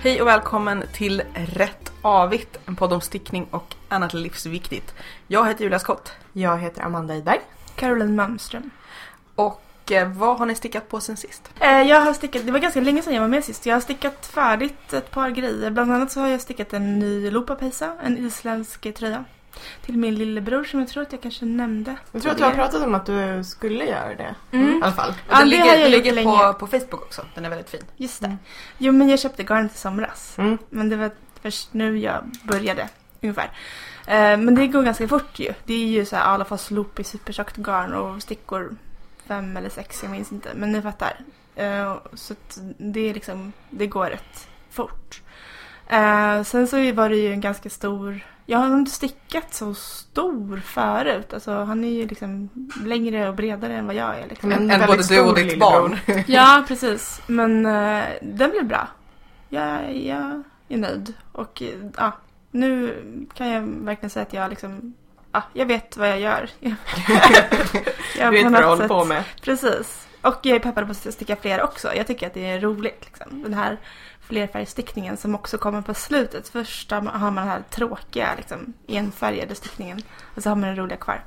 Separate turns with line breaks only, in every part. Hej och välkommen till Rätt Avigt, en podd om stickning och annat livsviktigt. Jag heter Julia Skott.
Jag heter Amanda Idberg.
Caroline Malmström.
Och eh, vad har ni stickat på sen sist?
Eh, jag har stickat, det var ganska länge sedan jag var med sist. Jag har stickat färdigt ett par grejer. Bland annat så har jag stickat en ny lopapejsa, en isländsk tröja. Till min lillebror som jag tror att jag kanske nämnde.
Jag tror att jag har pratat om att du skulle göra det. I alla fall.
Ja,
den
det
ligger,
har jag
den
gjort
ligger
länge. Mm,
på, på Facebook också, den är väldigt fin.
Just det. Jo men jag köpte garnet i somras.
Mm.
Men det var först nu jag började ungefär. Eh, men det går ganska fort ju. Det är ju så här, i alla fall slop i supertjockt garn och stickor fem eller sex, jag minns inte. Men ni fattar. Eh, så att det är liksom, det går rätt fort. Eh, sen så var det ju en ganska stor, jag har nog inte stickat så stor förut. Alltså han är ju liksom längre och bredare än vad jag är. Liksom.
Men
Än
väldigt
både du och
stor
ditt
lillebror.
barn.
Ja, precis. Men eh, den blev bra. Jag, jag är nöjd. Och eh, ja, nu kan jag verkligen säga att jag liksom... Ja, jag vet vad jag gör. jag
Du vet
på
vad du
något
håller
sätt-
på med.
Precis. Och jag är peppad på att sticka fler också. Jag tycker att det är roligt. Liksom. Den här flerfärgstickningen som också kommer på slutet. Först har man har man den här tråkiga liksom, enfärgade stickningen och så har man den roliga kvar.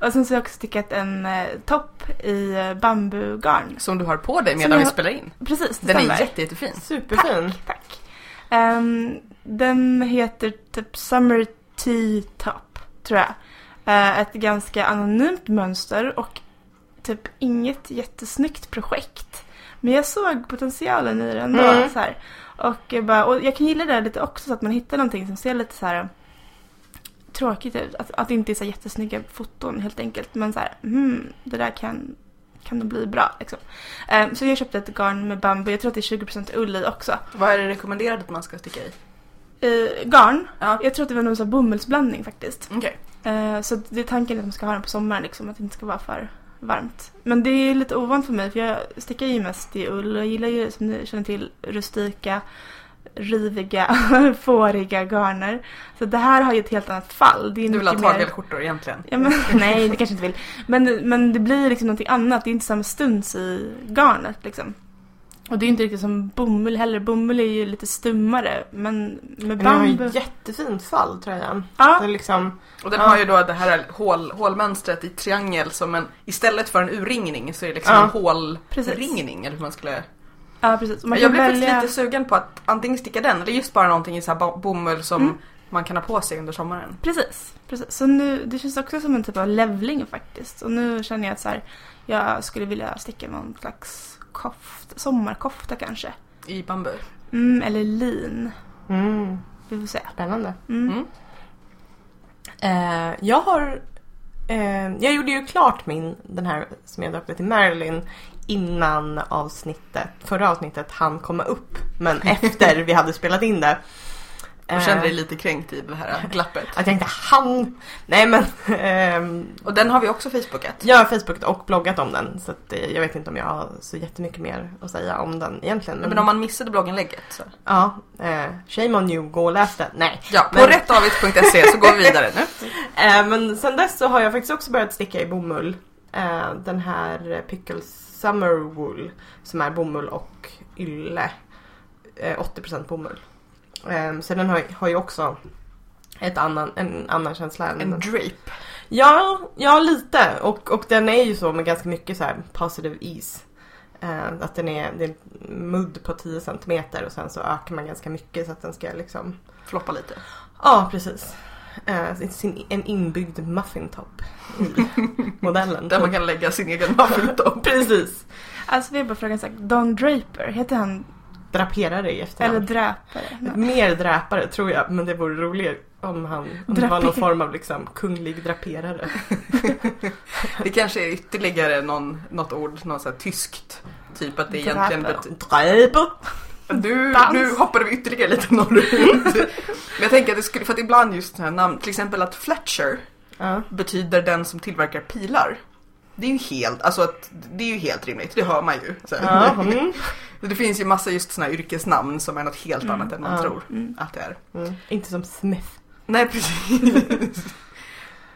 Och sen så har jag också stickat en eh, topp i eh, bambugarn.
Som du har på dig
Som
medan
jag
vi
har-
spelar in.
Precis, det
Den är
stämmer.
jätte, jättefin.
Superfin.
Tack. Ehm, den heter typ Summer Tea Top, tror jag. Eh, ett ganska anonymt mönster och typ inget jättesnyggt projekt. Men jag såg potentialen i den då.
Mm.
Så här. Och, jag bara, och jag kan gilla det här lite också så att man hittar någonting som ser lite så här eh, tråkigt ut. Att, att det inte är så här jättesnygga foton helt enkelt. Men så här, hmm, det där kan, kan nog bli bra. Liksom. Ehm, så jag köpte ett garn med bambu. Jag tror att det är 20% ull i också.
Vad är det rekommenderat att man ska sticka i?
Eh, garn.
Ja.
Jag tror att det var någon sån här bomullsblandning faktiskt.
Okej.
Eh, så det är tanken att man ska ha den på sommaren liksom, att det inte ska vara för varmt. Men det är lite ovant för mig för jag stickar ju mest i ull och jag gillar ju som ni känner till rustika, riviga, fåriga garner. Så det här har ju ett helt annat fall. Det är
Du vill ha
mycket mer-
tagelskjortor egentligen.
Ja, men, nej, det kanske inte vill. Men, men det blir liksom någonting annat. Det är inte samma stuns i garnet liksom. Och det är ju inte riktigt som bomull heller. Bomull är ju lite stummare. Men med
Men den har
bambu...
ju jättefint fall tröjan.
Ja,
Den liksom,
Och den
Ja.
har ju då det här hål, hålmönstret i triangel som en, istället för en urringning så är det liksom
Ja.
en hålringning.
Precis.
Eller hur man skulle...
ja precis. Och Man
jag
kan
blev
välja...
faktiskt lite sugen på att antingen sticka den eller just bara någonting i så här bo- bomull som
Mm.
man kan ha på sig under sommaren.
Precis, precis. Så nu, det känns också som en typ av levling faktiskt. Och nu känner jag att så här, jag skulle vilja sticka någon slags koft, sommarkofta kanske.
I bambu.
Mm, eller lin.
mm,
Vi får se.
spännande.
Mm.
Mm.
Eh, jag har... Eh, jag gjorde ju klart min, den här som jag döpte till Marilyn, innan avsnittet, förra avsnittet han komma upp. Men efter vi hade spelat in det.
Och kände dig
eh,
lite kränkt i det här glappet.
Att jag inte hann. Nej men. ehm,
Och den har vi också facebookat.
Jag har Facebookat och bloggat om den så att eh, jag vet inte om jag har så jättemycket mer att säga om den egentligen.
Men om man missade bloggenlägget så.
Ja, eh, shame on you, gå och läs den. Nej.
Ja, på
Men-
rättavigt.se så går vi vidare nu.
Eh, men sen dess så har jag faktiskt också börjat sticka i bomull. Eh, den här eh, Pickle Summer Wool som är bomull och ylle. Eh, 80% bomull. Eh, så den har, har ju också ett annan, en annan känsla än
En drape.
Ja, ja lite. Och, och den är ju så med ganska mycket så här positive ease. Eh, att den är, det är mudd på 10 centimeter och sen så ökar man ganska mycket så att den ska liksom...
Floppa lite.
Ja, precis. Eh, sin- sin, en inbyggd muffintop i modellen.
Där man kan lägga sin egen maffintopp.
Precis.
Alltså vi har bara frågan så här, Don Draper, heter han?
Dräperare i
Eller
efternamn.
Dräpare? Nej.
Mer dräpare tror jag, men det vore roligare om, han, om det var någon
Draper.
form av liksom kunglig draperare.
Det kanske är ytterligare någon, något ord, något så här tyskt. Typ att det
Drape.
egentligen betyder...
Dräper!
Du,
Dans.
nu hoppade vi ytterligare lite norrut. Men jag tänker att det skulle, för att ibland just sådana här namn, till exempel att Fletcher
Ja.
betyder den som tillverkar pilar. Det är ju helt, alltså att, det är ju helt rimligt, det hör man ju. Så.
Ja, mm.
Det finns ju massa just sådana här yrkesnamn som är något helt
Mm.
annat än man
Ja.
tror
Mm.
att det är.
Mm. Inte som Smith.
Nej precis.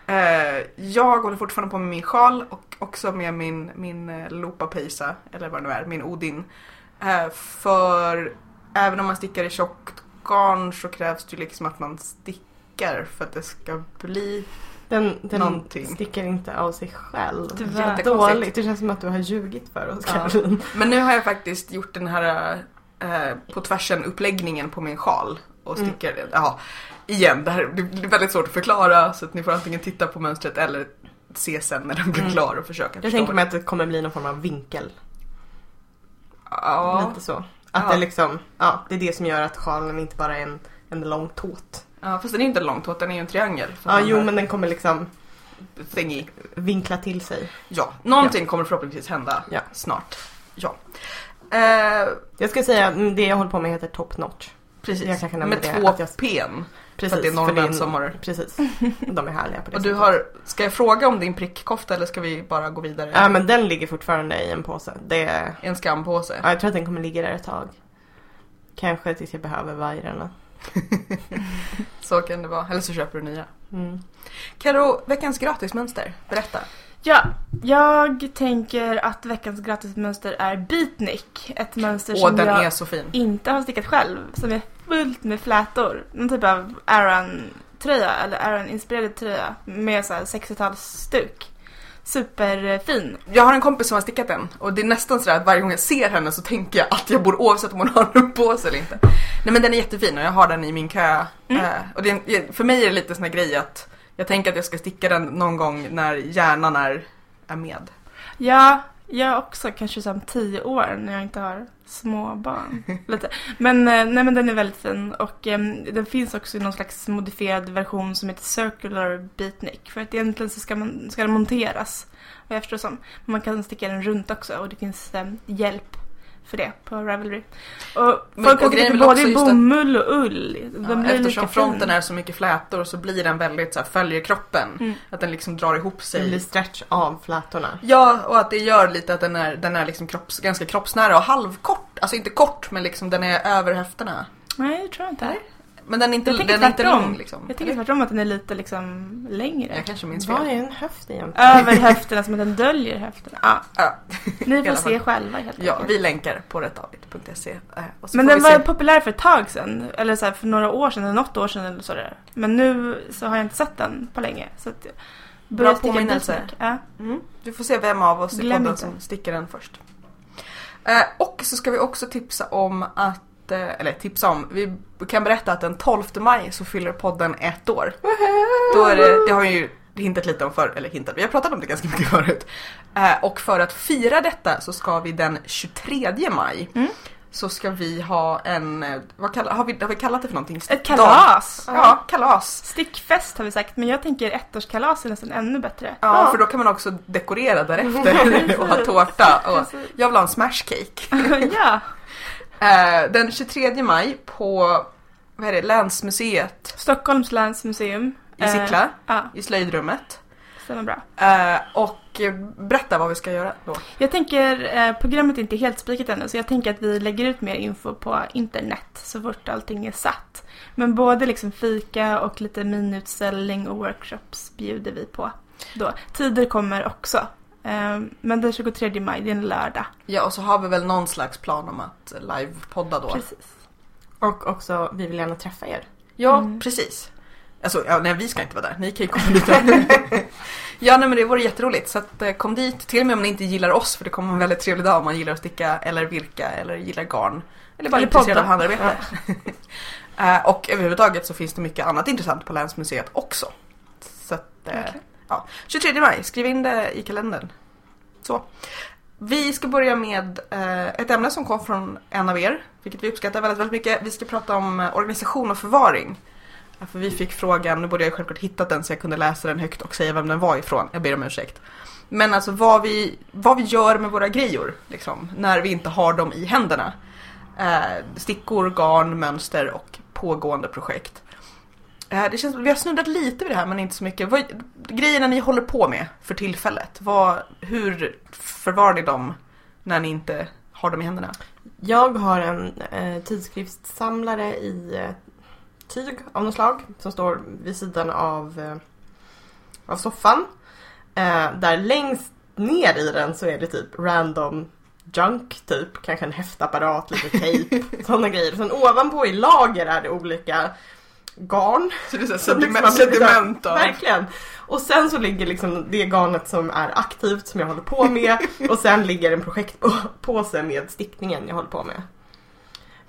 Eh, jag håller fortfarande på med min sjal och också med min, min eh, lopapejsa, eller vad det nu är, min Odin. Eh, för även om man stickar i tjockt garn så krävs det ju liksom att man stickar för att det ska bli...
Den, den
Någonting.
sticker inte av sig själv.
Tyvärr.
Jättekonstigt. Dåligt. Det känns som att du har ljugit för oss
Ja.
Caroline.
Men nu har jag faktiskt gjort den här eh, på tvärsen uppläggningen på min sjal och
Mm.
stickar den. Ja, igen, det här det är väldigt svårt att förklara så att ni får antingen titta på mönstret eller se sen när den blir
Mm.
klar och försöka
Jag tänker mig att det kommer bli någon form av vinkel.
Ja,
Lite så. Att
Ja.
det liksom, ja, det är det som gör att sjalen inte bara är en, en lång tåt.
ja, fast den är ju inte långt åt, den är ju en triangel. Så
Ja,
den
jo
här
men den kommer liksom
Thingy.
vinkla till sig.
Ja, någonting kommer förhoppningsvis hända
Ja.
snart. Ja. Eh,
Jag ska säga, mm, det jag håller på med heter top notch.
precis,
Jag kanske nämner
med
det,
två
att jag-
pen.
Precis.
För att det är
för
norrmän som har...
Precis. De är härliga på det
Och du
sättet.
har, ska jag fråga om din prickkofta eller ska vi bara gå vidare?
Ja men den ligger fortfarande i en påse. Det är...
En skampåse.
Ja, jag tror att den kommer ligga där ett tag. Kanske tills jag behöver vajrarna.
Så kan det vara. Eller så köper du nya.
Mm.
Karo, veckans gratismönster. Berätta.
Ja, jag tänker att veckans gratismönster är beatnik. Ett mönster
Åh,
som
den
jag
är så fin.
typ inte har stickat själv. Som är fullt med flätor. Någon typ av Aran-tröja eller Aran-inspirerad tröja med så här 60-talsstuk. Superfin.
Jag har en kompis som har stickat den och det är nästan sådär att varje gång jag ser henne så tänker jag att jag borde oavsett om hon har den på sig eller inte. Nej men den är jättefin och jag har den i min kö.
Mm.
Eh, och det, är- för mig är det lite sån här grej att jag tänker att jag ska sticka den någon gång när hjärnan är, är med.
Ja, jag också kanske som tio år när jag inte har småbarn. Lite. Men, eh, nej, men den är väldigt fin och eh, den finns också i någon slags modifierad version som heter Circular Beatnik. För att egentligen så ska, man, ska den monteras, vad jag förstår som. Men man kan sticka den runt också och det finns eh, hjälp för det på Ravelry. Och
Men-
folk
och
kan
grejen är väl
sticka både
också
i
just att-
bomull och ull. Den blir
Eftersom
lika
fronten
fin.
är så mycket flätor så blir den väldigt såhär, följer kroppen.
Mm.
Att den liksom drar ihop sig.
Det blir stretch av flätorna.
Ja, och att det gör lite att den är, den är liksom kropps, ganska kroppsnära och halvkort. Alltså inte kort, men liksom den är över höfterna.
Nej, det tror jag inte.
Nej, Men den är inte,
Jag tänker
den är inte
tvärtom.
lång liksom.
Jag tänker
Eller?
tvärtom att den är lite liksom längre.
jag kanske minns
Vad
fel.
är en höft egentligen?
Över höfterna som att den döljer höfterna. Ja,
Ja,
ni
I alla
får
fall.
se själva helt
ja,
enkelt.
vi länkar på rättavit.se. eh, och så
Men
får
den
vi se.
var populär för ett tag sedan. Eller så här, för några år sedan, eller något år sedan eller så där. Men nu så har jag inte sett den på länge. Så att jag börjar sticka
påminnelse.
dit mycket. Ja.
Mm. Du får se vem av oss i
Glöm
podden
inte.
som sticker den först. Eh, och så ska vi också tipsa om att, eh, eller tipsa om, vi kan berätta att den 12 maj så fyller podden ett år. Då är det, det har jag ju hintat lite om förr, eller hintat, vi har pratat om det ganska mycket förut. Eh, och för att fira detta så ska vi den 23 maj
Mm.
så ska vi ha en, eh, vad kallar, har, vi, har vi kallat det för någonting?
Ett kalas!
Dag. Ja, kalas.
Stickfest har vi sagt, men jag tänker ettårskalas är nästan ännu bättre.
Ja, för då kan man också dekorera därefter och ha tårta. Och,
Precis.
jag vill ha en smashcake.
Alltså, ja,
Eh, den 23 maj på vad är det, Länsmuseet
Stockholms läns museum.
i Sickla,
Ja,
i slöjdrummet.
stämmer bra.
Eh, och eh, berätta vad vi ska göra då.
Jag tänker, eh, programmet är inte helt spikat ännu så jag tänker att vi lägger ut mer info på internet så fort allting är satt. Men både liksom fika och lite miniutställning och workshops bjuder vi på då. Tider kommer också. Eh, men den 23 maj, det är en lördag.
Ja, och så har vi väl någon slags plan om att livepodda då.
Precis.
Och också, vi vill gärna träffa er.
Ja,
Mm.
precis. Alltså, ja, nej vi ska inte vara där, ni kan ju komma dit. ja, nej men det vore jätteroligt. Så att, eh, kom dit, till och med om ni inte gillar oss, för det kommer vara en väldigt trevlig dag om man gillar att sticka eller virka eller gillar garn. Eller bara är
Eller
intresserad
podda.
av handarbete. Eh, och överhuvudtaget så finns det mycket annat intressant på Länsmuseet också. Så att, eh,
Verkligen.
ja. 23 maj, skriv in det i kalendern. Så. Vi ska börja med eh, ett ämne som kom från en av er, vilket vi uppskattar väldigt, väldigt mycket. Vi ska prata om eh, organisation och förvaring. Ja, För vi fick frågan, nu borde jag ju självklart hittat den så jag kunde läsa den högt och säga vem den var ifrån. Jag ber om ursäkt. Men alltså vad vi, vad vi gör med våra grejor, liksom, när vi inte har dem i händerna. Eh, stickor, garn, mönster och pågående projekt. Eh, det känns, vi har snuddat lite vid det här men inte så mycket. Vad, grejerna ni håller på med för tillfället, vad, hur förvarar ni dem när ni inte har dem i händerna?
Jag har en eh, tidskriftssamlare i eh, tyg av något slag som står vid sidan av, eh, av soffan. Eh, där längst ner i den så är det typ random junk typ, kanske en häftapparat, lite tejp, sådana grejer. Sen ovanpå i lager är det olika garn.
Så det är så
Så
här
liksom
sediment,
man blir lite-
sediment av.
Verkligen. Och sen så ligger liksom det garnet som är aktivt som jag håller på med och sen ligger en projektpåse med stickningen jag håller på med.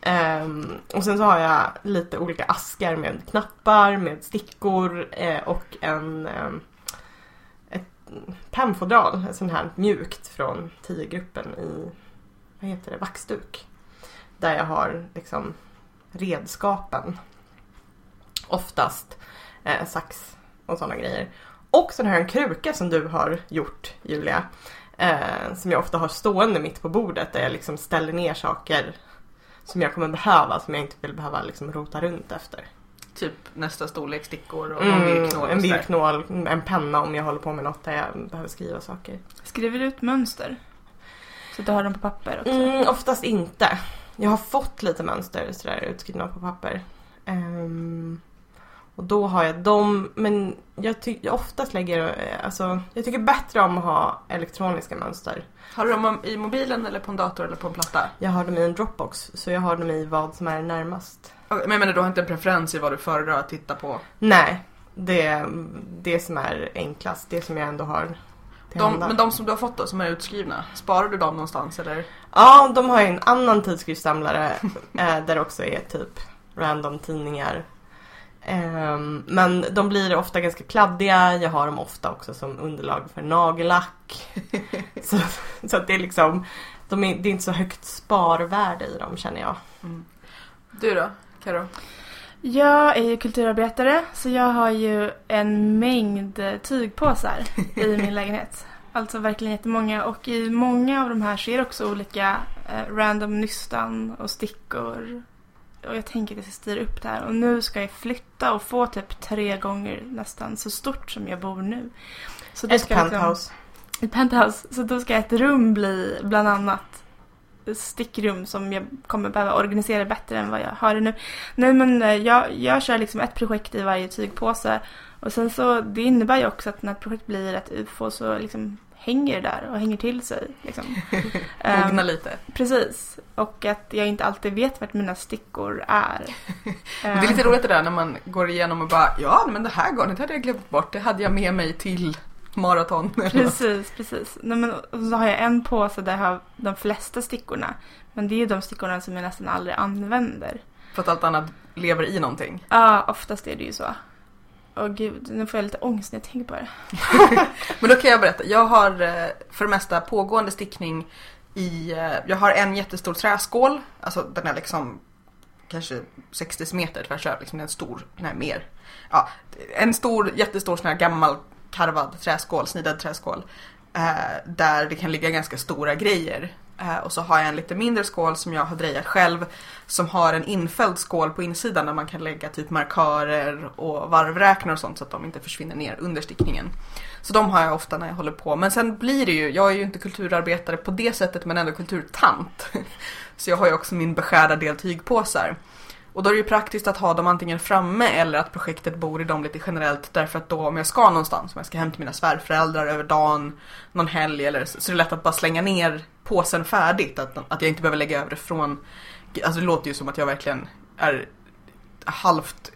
Ehm, och sen så har jag lite olika askar med knappar, med stickor eh, och en ehm, ett pennfodral, en sån här mjukt från 10-gruppen i, vad heter det, vaxduk. Där jag har liksom redskapen. Oftast eh, sax och sådana grejer. Och sen har jag en kruka som du har gjort Julia. Eh, som jag ofta har stående mitt på bordet där jag liksom ställer ner saker som jag kommer behöva som jag inte vill behöva liksom rota runt efter.
Typ nästa storlek stickor och någon
Mm,
virknål.
en
och sådär.
virknål, en penna om jag håller på med något där jag behöver skriva saker.
Skriver du ut mönster? Så att du har dem på papper också?
Mm, oftast inte. Jag har fått lite mönster sådär utskrivna på papper. Ehm, och då har jag dem, men jag, ty- jag oftast lägger, eh, alltså jag tycker bättre om att ha elektroniska mönster.
Har du dem i mobilen eller på en dator eller på en platta?
Jag har dem i en Dropbox, så jag har dem i vad som är närmast.
Okej, Men jag menar, du har inte en preferens i vad du föredrar att titta på?
Nej, det är det som är enklast, det som jag ändå har till
De,
handa.
men de som du har fått då, som är utskrivna, sparar du dem någonstans eller?
Ja, de har ju en annan tidskriftssamlare eh, där det också är typ random tidningar. Ehm, men de blir ofta ganska kladdiga. Jag har dem ofta också som underlag för nagellack. så, så att det är liksom, de är, det är inte så högt sparvärde i dem känner jag.
Mm. Du då, Karo?
Jag är ju kulturarbetare så jag har ju en mängd tygpåsar i min lägenhet. Alltså verkligen jättemånga och i många av de här ser också olika eh, random nystan och stickor. Och jag tänker att jag ska styra upp det här och nu ska jag flytta och få typ tre gånger nästan så stort som jag bor nu. Så då
Ett
ska jag liksom-
penthouse.
ett penthouse. Så då ska ett rum bli bland annat stickrum som jag kommer behöva organisera bättre än vad jag har det nu. Nej men eh, jag, jag kör liksom ett projekt i varje tygpåse och sen så det innebär ju också att när ett projekt blir ett UFO så liksom hänger det där och hänger till sig. Liksom. Ehm,
Mogna lite.
precis. Och att jag inte alltid vet vart mina stickor är. Ehm.
Men Det är lite roligt det där när man går igenom och bara ja men det här garnet hade jag glömt bort, det hade jag med mig till maraton.
Precis, precis. Nej, men, och så har jag en påse där jag har de flesta stickorna. Men det är ju de stickorna som jag nästan aldrig använder.
För att allt annat lever i någonting.
Ja, oftast är det ju så. Åh gud, nu får jag lite ångest när jag tänker på det.
Men då kan jag berätta, jag har eh, för det mesta pågående stickning i, eh, jag har en jättestor träskål, alltså den är liksom kanske 60 meter tvärs över, liksom den är stor, nej mer. Ja, en stor, jättestor sån här gammal karvad träskål, snidad träskål. Eh, där det kan ligga ganska stora grejer. Eh, och så har jag en lite mindre skål som jag har drejat själv. Som har en infälld skål på insidan där man kan lägga typ markörer och varvräknare och sånt så att de inte försvinner ner under stickningen. Så de har jag ofta när jag håller på. Men sen blir det ju, jag är ju inte kulturarbetare på det sättet men ändå kulturtant. Så jag har ju också min beskärda del tygpåsar. Och då är det ju praktiskt att ha dem antingen framme eller att projektet bor i dem lite generellt därför att då om jag ska någonstans, om jag ska hem till mina svärföräldrar över dagen, någon helg eller så, så är det lätt att bara slänga ner påsen färdigt. Att, att jag inte behöver lägga över det från, alltså det låter ju som att jag verkligen är halvt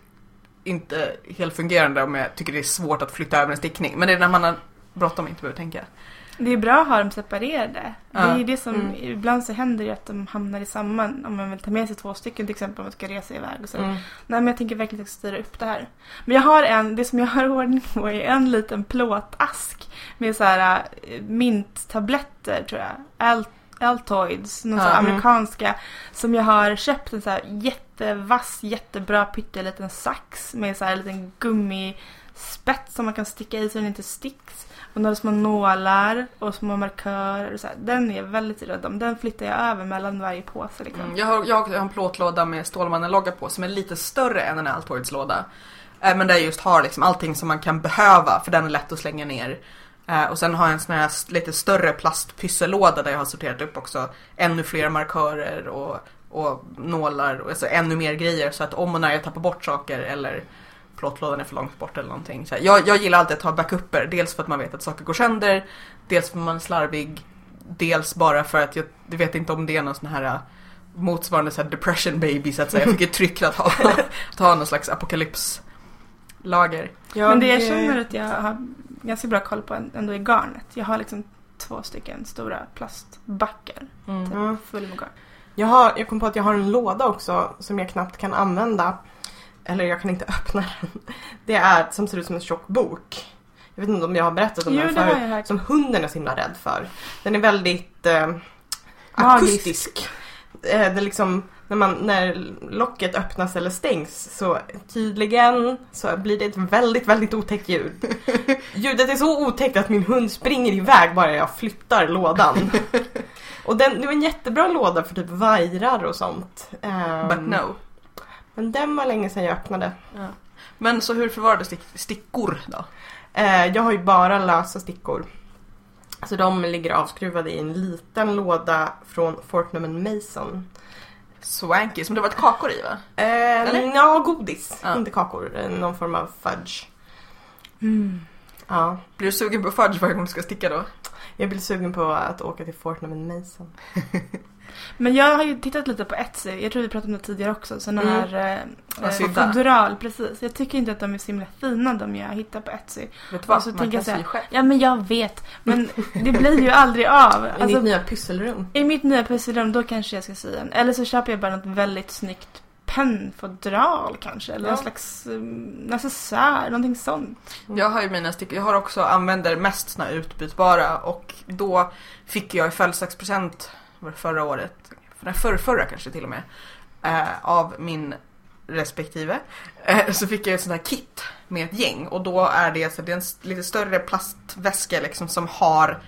inte helt fungerande om jag tycker det är svårt att flytta över en stickning. Men det är när man har bråttom och inte behöver tänka.
Det är bra att ha dem separerade. Det är
Ja.
ju det som,
Mm.
ibland så händer det att de hamnar i samman. Om man vill ta med sig två stycken till exempel om man ska resa iväg och så.
Mm.
Nej men jag tänker verkligen att jag ska styra upp det här. Men jag har en, det som jag har ordning på är en liten plåtask med så här eh, minttabletter tror jag. Al- Altoids, någon
Ja,
sån här
mm.
amerikanska. Som jag har köpt en så här jättevass, jättebra pytteliten sax med så här en liten gummispets som man kan sticka i så den inte sticks. Och några små nålar och små markörer. Och så här. Den är jag väldigt rädd om. Den flyttar jag över mellan varje påse liksom.
Mm, jag, har, jag har en plåtlåda med Stålmannen-logga på som är lite större än en Altoids låda. Eh, Men där jag just har liksom allting som man kan behöva för den är lätt att slänga ner. Eh, Och sen har jag en sån här s- lite större plastpyssellåda där jag har sorterat upp också ännu fler markörer och, och nålar och alltså ännu mer grejer så att om och när jag tappar bort saker eller plåtlådan är för långt bort eller någonting. Så här, jag, jag gillar alltid att ha backupper, dels för att man vet att saker går sönder, dels för att man är slarvig dels bara för att jag, jag vet inte om det är någon sån här äh, motsvarande så här depression baby så att säga. Jag fick ett tryck att ha, att ha någon slags apokalypslager.
Jag,
Men det jag känner att jag har ganska bra koll på ändå är garnet. Jag har liksom två stycken stora plastbackar
Mm.
Mm.
fulla med garn.
Jag, har, jag kom på att jag har en låda också som jag knappt kan använda. Eller jag kan inte öppna den. Det är som ser ut som en tjock bok. Jag vet inte om jag har berättat om
Jo,
den
det har
förut.
jag hört.
Som hunden är så himla rädd för. Den är väldigt eh,
Magisk.
akustisk. Eh, det är liksom, när, man, när locket öppnas eller stängs så tydligen så blir det ett väldigt, väldigt otäckt ljud. Ljudet är så otäckt att min hund springer iväg bara jag flyttar lådan. och den, det var en jättebra låda för typ vajrar och sånt. Ehm,
But
Mm.
no.
Men den var länge sedan jag öppnade.
Men så hur förvarades stick- stickor då?
Eh, jag har ju bara lösa stickor. Så de ligger avskruvade i en liten låda från Fortnum Mason.
Swanky, som det varit kakor i va?
Eh,
Eller?
ja, godis.
Ja.
Inte kakor. Eh, Någon form av fudge.
Mm.
Ja.
Blir du sugen på fudge varje gång du ska sticka då?
Jag blir sugen på att åka till Fortnum Mason.
Men jag har ju tittat lite på Etsy, jag tror vi pratade om det tidigare också, sådana
Mm.
här eh,
Och
eh,
sydda.
fodral, precis. Jag tycker inte att de är så himla fina de jag hittar på Etsy.
Vet du vad?
Och så
Man
tänker
kan
Alltså, jag så här-
sy själv.
Ja men jag vet, men det blir ju aldrig av.
I
Alltså,
ditt nya pysselrum.
I mitt nya pusselrum då kanske jag ska sy en. Eller så köper jag bara något väldigt snyggt pennfodral kanske. Eller
Ja.
någon slags um, necessär, någonting sånt.
Jag har ju mina stickor, jag har också använder mest såna här utbytbara och då fick jag i födelsedagspresent var det förra året, för- förra, förra kanske till och med, eh, av min respektive. Eh, så fick jag ett sånt här kit med ett gäng och då är det, så det är en s- lite större plastväska liksom som har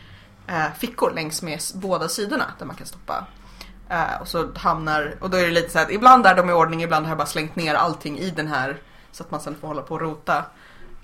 eh, fickor längs med s- båda sidorna där man kan stoppa. Eh, och så hamnar, och då är det lite så här att ibland är de i ordning, ibland har jag bara slängt ner allting i den här så att man sen får hålla på och rota.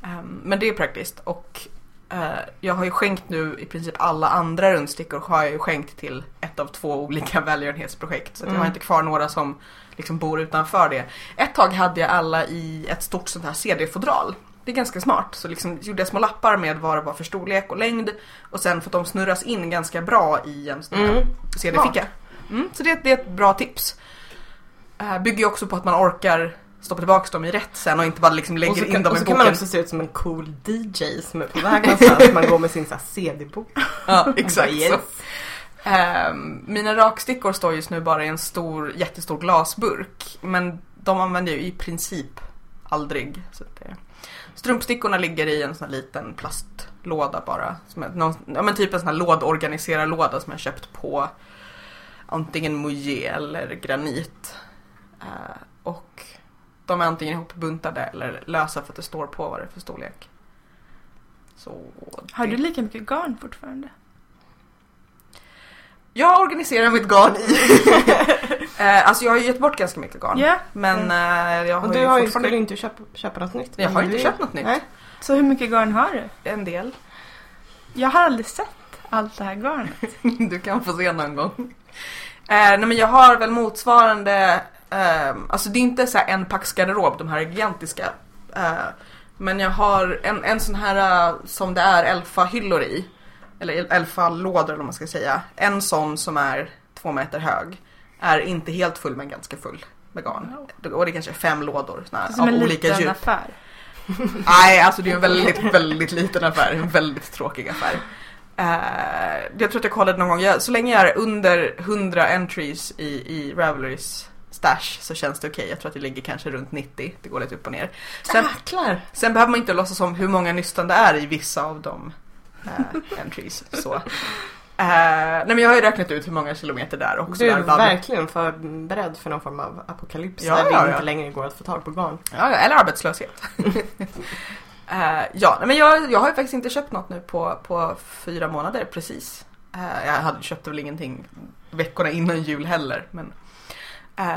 Ehm, Men det är praktiskt och eh, jag har ju skänkt nu i princip alla andra rundstickor har jag ju skänkt till ett av två olika välgörenhetsprojekt. Så att jag har
Mm.
inte kvar några som liksom bor utanför det. Ett tag hade jag alla i ett stort sånt här CD-fodral. Det är ganska smart. Så liksom gjorde jag små lappar med vad det var för storlek och längd. Och sen för att de snurras in ganska bra i en sån här
Mm.
CD-ficka. Mm, så det, det är ett bra tips. Eh, bygger ju också på att man orkar stoppa tillbaka dem i rätt sen och inte bara liksom
Och så,
lägger in
kan,
dem
och
i
så
boken.
kan man också se ut som en cool DJ som är på väg någonstans. man går med sin så här CD-bok.
Ja, exakt
Yes.
så. Ehm, mina rakstickor står just nu bara i en stor, jättestor glasburk. Men de använder jag ju i princip aldrig. Så att det... Strumpstickorna ligger i en sån här liten plastlåda bara. Som är någon, ja, men typ en sån här lådorganiserarlåda som jag köpt på antingen Moje eller Granit. Eh, och de är antingen ihopbuntade eller lösa för att det står på vad det är för storlek. Så
Har
det-
du lika mycket garn fortfarande?
Jag organiserar mitt garn i... eh, alltså jag har ju gett bort ganska mycket garn.
Ja.
Men eh, jag har,
Och du har
ju
ju,
fortfarande...
skulle inte köpa, köpa något nytt.
Jag har inte
Du-
köpt något nytt.
Nej.
Så hur mycket garn har du?
En del.
Jag har aldrig sett allt det här garnet.
du kan få se någon gång. Eh, nej men jag har väl motsvarande... Eh, alltså det är inte så här en packs garderob, de här gigantiska. Eh, men jag har en, en sån här eh, som det är Elfa-hyllor i. Eller Elfa-lådor eller vad man ska säga. En sån som är två meter hög. Är inte helt full men ganska full med garn. Och det kanske är fem lådor såna här,
Som en
av olika
liten
djup.
affär.
Nej, alltså det är en väldigt, väldigt liten affär. En väldigt tråkig affär. Eh, jag tror att jag kollade någon gång, jag, så länge jag är under 100 entries i, i Ravelrys stash så känns det okej. Jag tror att det ligger kanske runt 90, det går lite upp och ner. Sen,
Jäklar!
sen behöver man inte låtsas om hur många nystan det är i vissa av de eh, entries. Så. Eh, nej men jag har ju räknat ut hur många kilometer där också.
Du är
där varv-
verkligen förberedd för någon form av apokalyps
Ja,
där
ja,
det
ja.
inte längre går att få tag på garn.
Ja, ja, eller arbetslöshet. Eh, ja, nej, men jag, jag har ju faktiskt inte köpt något nu på, på fyra månader precis. Eh, jag hade köpte väl ingenting veckorna innan jul heller. Men, eh,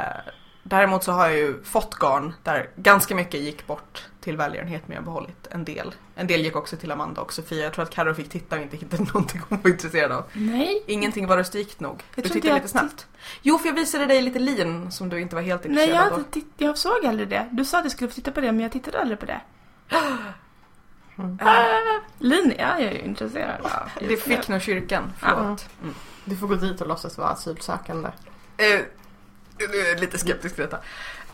däremot så har jag ju fått garn där ganska mycket gick bort till välgörenhet men jag har behållit en del. En del gick också till Amanda och Sofia. Jag tror att Carro fick titta och inte hittade någonting hon var intresserad av.
Nej.
Ingenting var rustikt nog.
Jag
du
tror
tittade
inte jag
lite snabbt. Jo, för jag visade dig lite lin som du inte var helt
Nej, jag,
intresserad
har
av.
inte titt- jag såg aldrig det. Du sa att jag skulle få titta på det, men jag tittade aldrig på det.
Mm.
Eh,
Ah, Lin är jag ju intresserad av.
Det fick nog kyrkan, förlåt. Mm.
Du får gå dit och låtsas vara asylsökande.
Eh, nu är jag lite skeptisk till detta.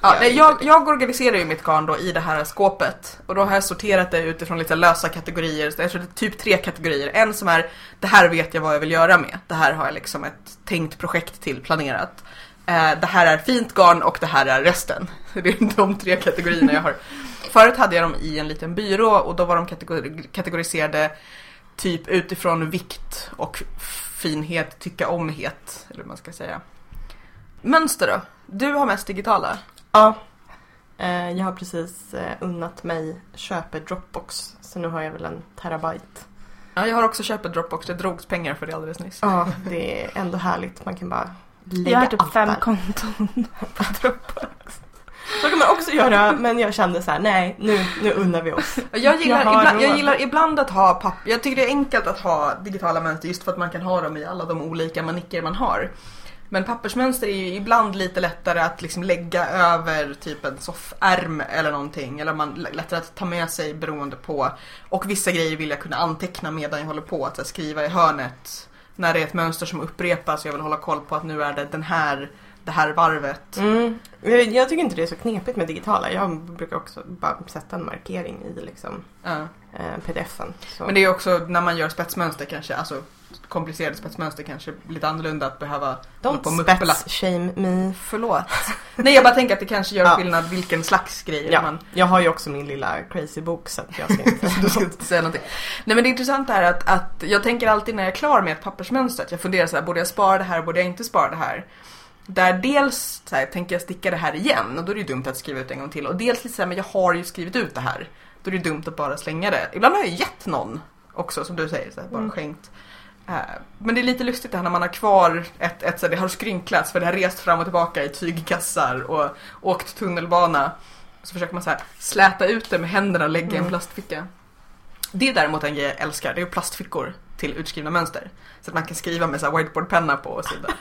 Ja,
Ja, nej, jag, jag organiserar ju mitt garn då i det här skåpet och då har jag sorterat det utifrån lite lösa kategorier. Så jag tror det är typ tre kategorier. En som är det här vet jag vad jag vill göra med. Det här har jag liksom ett tänkt projekt till planerat. Eh, det här är fint garn och det här är resten. Så Det är de tre kategorierna jag har. Förut hade jag dem i en liten byrå och då var de kategori- kategoriserade typ utifrån vikt och finhet, tycka omhet. Eller vad man ska säga. Mönster då? Du har mest digitala.
Ja. Eh, Jag har precis eh, unnat mig köpa Dropbox. Så nu har jag väl en terabyte.
Ja, jag har också köpt ett Dropbox. Det drogs pengar för det alldeles nyss.
Ja, det är ändå härligt. Man kan bara lägga
Jag har typ
allt
fem
där.
konton.
Så kan man också göra, men jag kände så här: nej, nu, nu unnar vi oss.
Jag gillar,
Jag har
ibland, jag
råd.
gillar ibland att ha papper. Jag tycker det är enkelt att ha digitala mönster just för att man kan ha dem i alla de olika manicker man har. Men pappersmönster är ju ibland lite lättare att liksom lägga över typ en soffärm eller någonting. Eller man lättare att ta med sig beroende på. Och vissa grejer vill jag kunna anteckna medan jag håller på. Att så här, skriva i hörnet när det är ett mönster som upprepas. Jag vill hålla koll på att nu är det den här, det här varvet.
Mm. Jag jag tycker inte det är så knepigt med digitala. Jag brukar också bara sätta en markering i liksom,
Ja.
eh, pdf-en. Så.
Men det är också när man gör spetsmönster kanske, alltså komplicerade spetsmönster kanske lite annorlunda att behöva hålla på och
Don't
muppla.
spets shame me.
Förlåt. Nej jag bara tänker att det kanske gör
Ja.
skillnad vilken slags grejer
Ja,
man...
jag har ju också min lilla crazy bok så att jag ska inte...
Du ska inte säga någonting. Nej men det intressanta är att, att jag tänker alltid när jag är klar med ett pappersmönster att jag funderar så här, borde jag spara det här, borde jag inte spara det här? Där dels så här, tänker jag sticka det här igen och då är det ju dumt att skriva ut en gång till och dels lite så här, men jag har ju skrivit ut det här. Då är det dumt att bara slänga det. Ibland har jag gett någon också som du säger, så här, bara
Mm.
skänkt. Eh, Men det är lite lustigt det här när man har kvar ett, ett så här, det har skrynklats för det har rest fram och tillbaka i tygkassar och åkt tunnelbana. Så försöker man så här släta ut det med händerna och lägga i en
Mm.
plastficka. Det är däremot en grej jag älskar, det är plastfickor till utskrivna mönster. Så att man kan skriva med så här whiteboardpenna på sidan.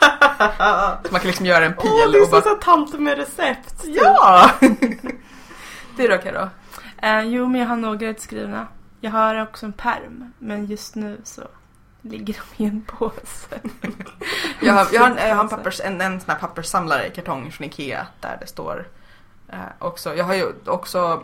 Så man kan liksom göra en pil
Åh, det är
och bara...
som så tant med recept!
Ja! det är då okej då.
Eh, jo, men jag har några utskrivna. Jag har också en perm, men just nu så ligger de i en påse.
Jag har, jag har, en, jag har en, pappers, en, en sån här papperssamlare i kartong från Ikea där det står eh, också. Jag har ju också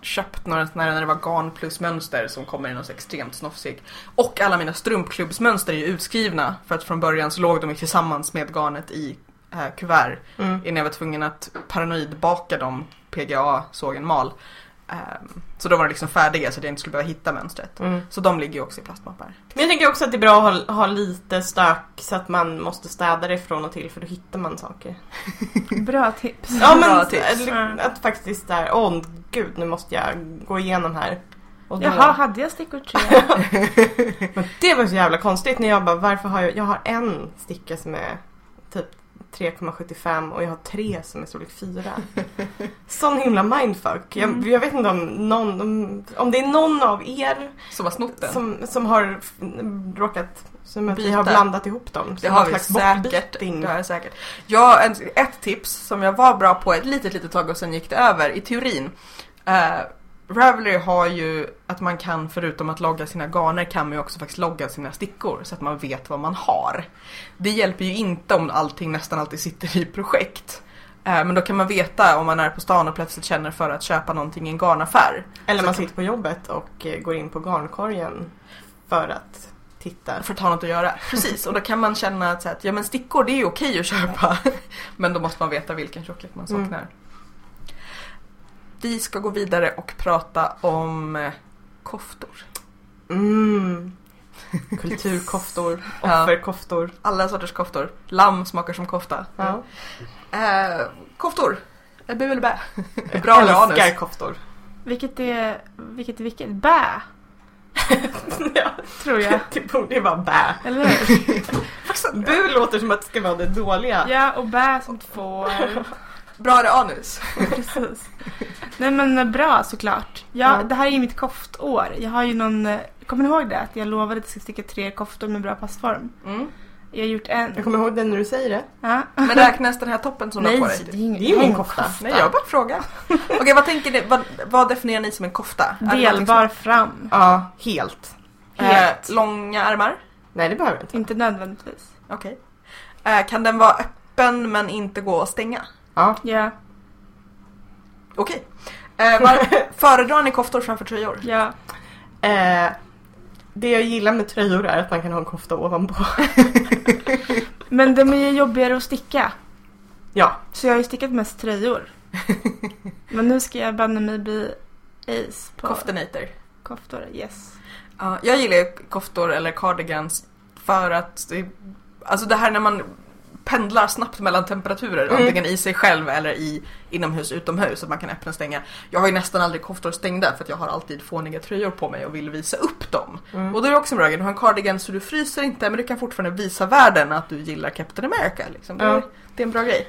köpt några såna här när det var garn plus mönster som kommer i någon så extremt snofsig. Och alla mina strumpklubbsmönster är ju utskrivna för att från början så låg de ju tillsammans med garnet i eh, kuvert
Mm.
innan jag var tvungen att paranoidbaka dem PGA sågen mal. Ehm, så då var de liksom färdiga så att jag inte skulle behöva hitta mönstret.
Mm.
Så de ligger ju också i plastmappar.
Men jag tänker också att det är bra att ha, ha lite stök så att man måste städa det från och till för då hittar man saker.
Bra tips.
Ja
Bra
men
tips.
eller att faktiskt där, åh gud nu måste jag gå igenom här. Och då,
Jaha, hade jag stickor tre?
Men det var så jävla konstigt när jag bara varför har jag, jag har en sticka som är typ 3,75 och jag har tre som är storlek 4. Sån himla mindfuck. Jag,
Mm.
jag vet inte om någon, om, om det är någon av er
Som har snott den.
som, som har f- råkat, som att vi har
Byta.
blandat ihop dem.
Det
Som
har
någon
vi
slags
säkert.
bortbyting.
Det har jag säkert. Jag, en, ett tips som jag var bra på ett litet, litet tag och sen gick det över i teorin. Eh, Ravelry har ju att man kan förutom att logga sina garner kan man ju också faktiskt logga sina stickor så att man vet vad man har. Det hjälper ju inte om allting nästan alltid sitter i projekt. Eh, Men då kan man veta om man är på stan och plötsligt känner för att köpa någonting i en garnaffär.
Eller
Så
man
kan-
sitter på jobbet och eh, går in på garnkorgen för att titta.
För att ha något att göra. Precis, och då kan man känna att, så här, att ja, men stickor det är ju okej att köpa. Men då måste man veta vilken tjocklek man saknar. Vi ska gå vidare och prata om eh, koftor.
Mm. Kulturkoftor,
Ja.
offerkoftor.
Alla sorters koftor. Lamm smakar som kofta.
Ja.
Eh, koftor! Eh, Bu eller bä? Bra eller anus?
Älskar koftor.
Vilket är, vilket är vilket? Bä,
ja,
tror jag.
det borde ju vara bä.
Eller hur?
Bu låter som att det ska vara det dåliga.
Ja, och bä som ett får.
Bra eller anus?
Precis. Nej men eh, bra såklart. Jag,
Ja.
Det här är ju mitt koftår. Jag har ju någon, eh, kommer ni ihåg det? Att jag lovade att jag skulle sticka tre koftor med bra passform.
Mm.
Jag har gjort en.
Jag kommer ihåg den när du säger det.
Ja.
Men räknas den här toppen som du
Nej,
har på dig?
det är ingen,
typ. Det är ju ingen
ingen
kofta.
Nej, jag bara frågar. Okej, vad tänker ni? Vad, vad definierar ni som en kofta? Är det någonting som-
Delbar fram.
Ja, helt.
Helt.
Eh, långa ärmar?
Nej, det behöver jag inte.
Inte nödvändigtvis.
Okej. Eh, kan den vara öppen men inte gå att stänga?
Ja.
Ja,
Okej. Eh, var- föredrar ni koftor framför tröjor?
ja.
Eh, det jag gillar med tröjor är att man kan ha en kofta ovanpå.
Men de är ju jobbigare att sticka.
Ja.
Så jag har ju stickat mest tröjor. Men nu ska jag banne mig bli ace på
Koftenator.
koftor. Yes.
Ja, jag gillar ju koftor eller cardigans för att det, alltså det här när man pendlar snabbt mellan temperaturer,
Mm.
antingen i sig själv eller i inomhus utomhus, att man kan öppna och stänga. Jag har ju nästan aldrig koftor stängda för att jag har alltid fåniga tröjor på mig och vill visa upp dem.
Mm.
Och då är det också en bra grej, du har en cardigan så du fryser inte men du kan fortfarande visa världen att du gillar Captain America. Liksom. Det, är,
Ja.
det är en bra grej.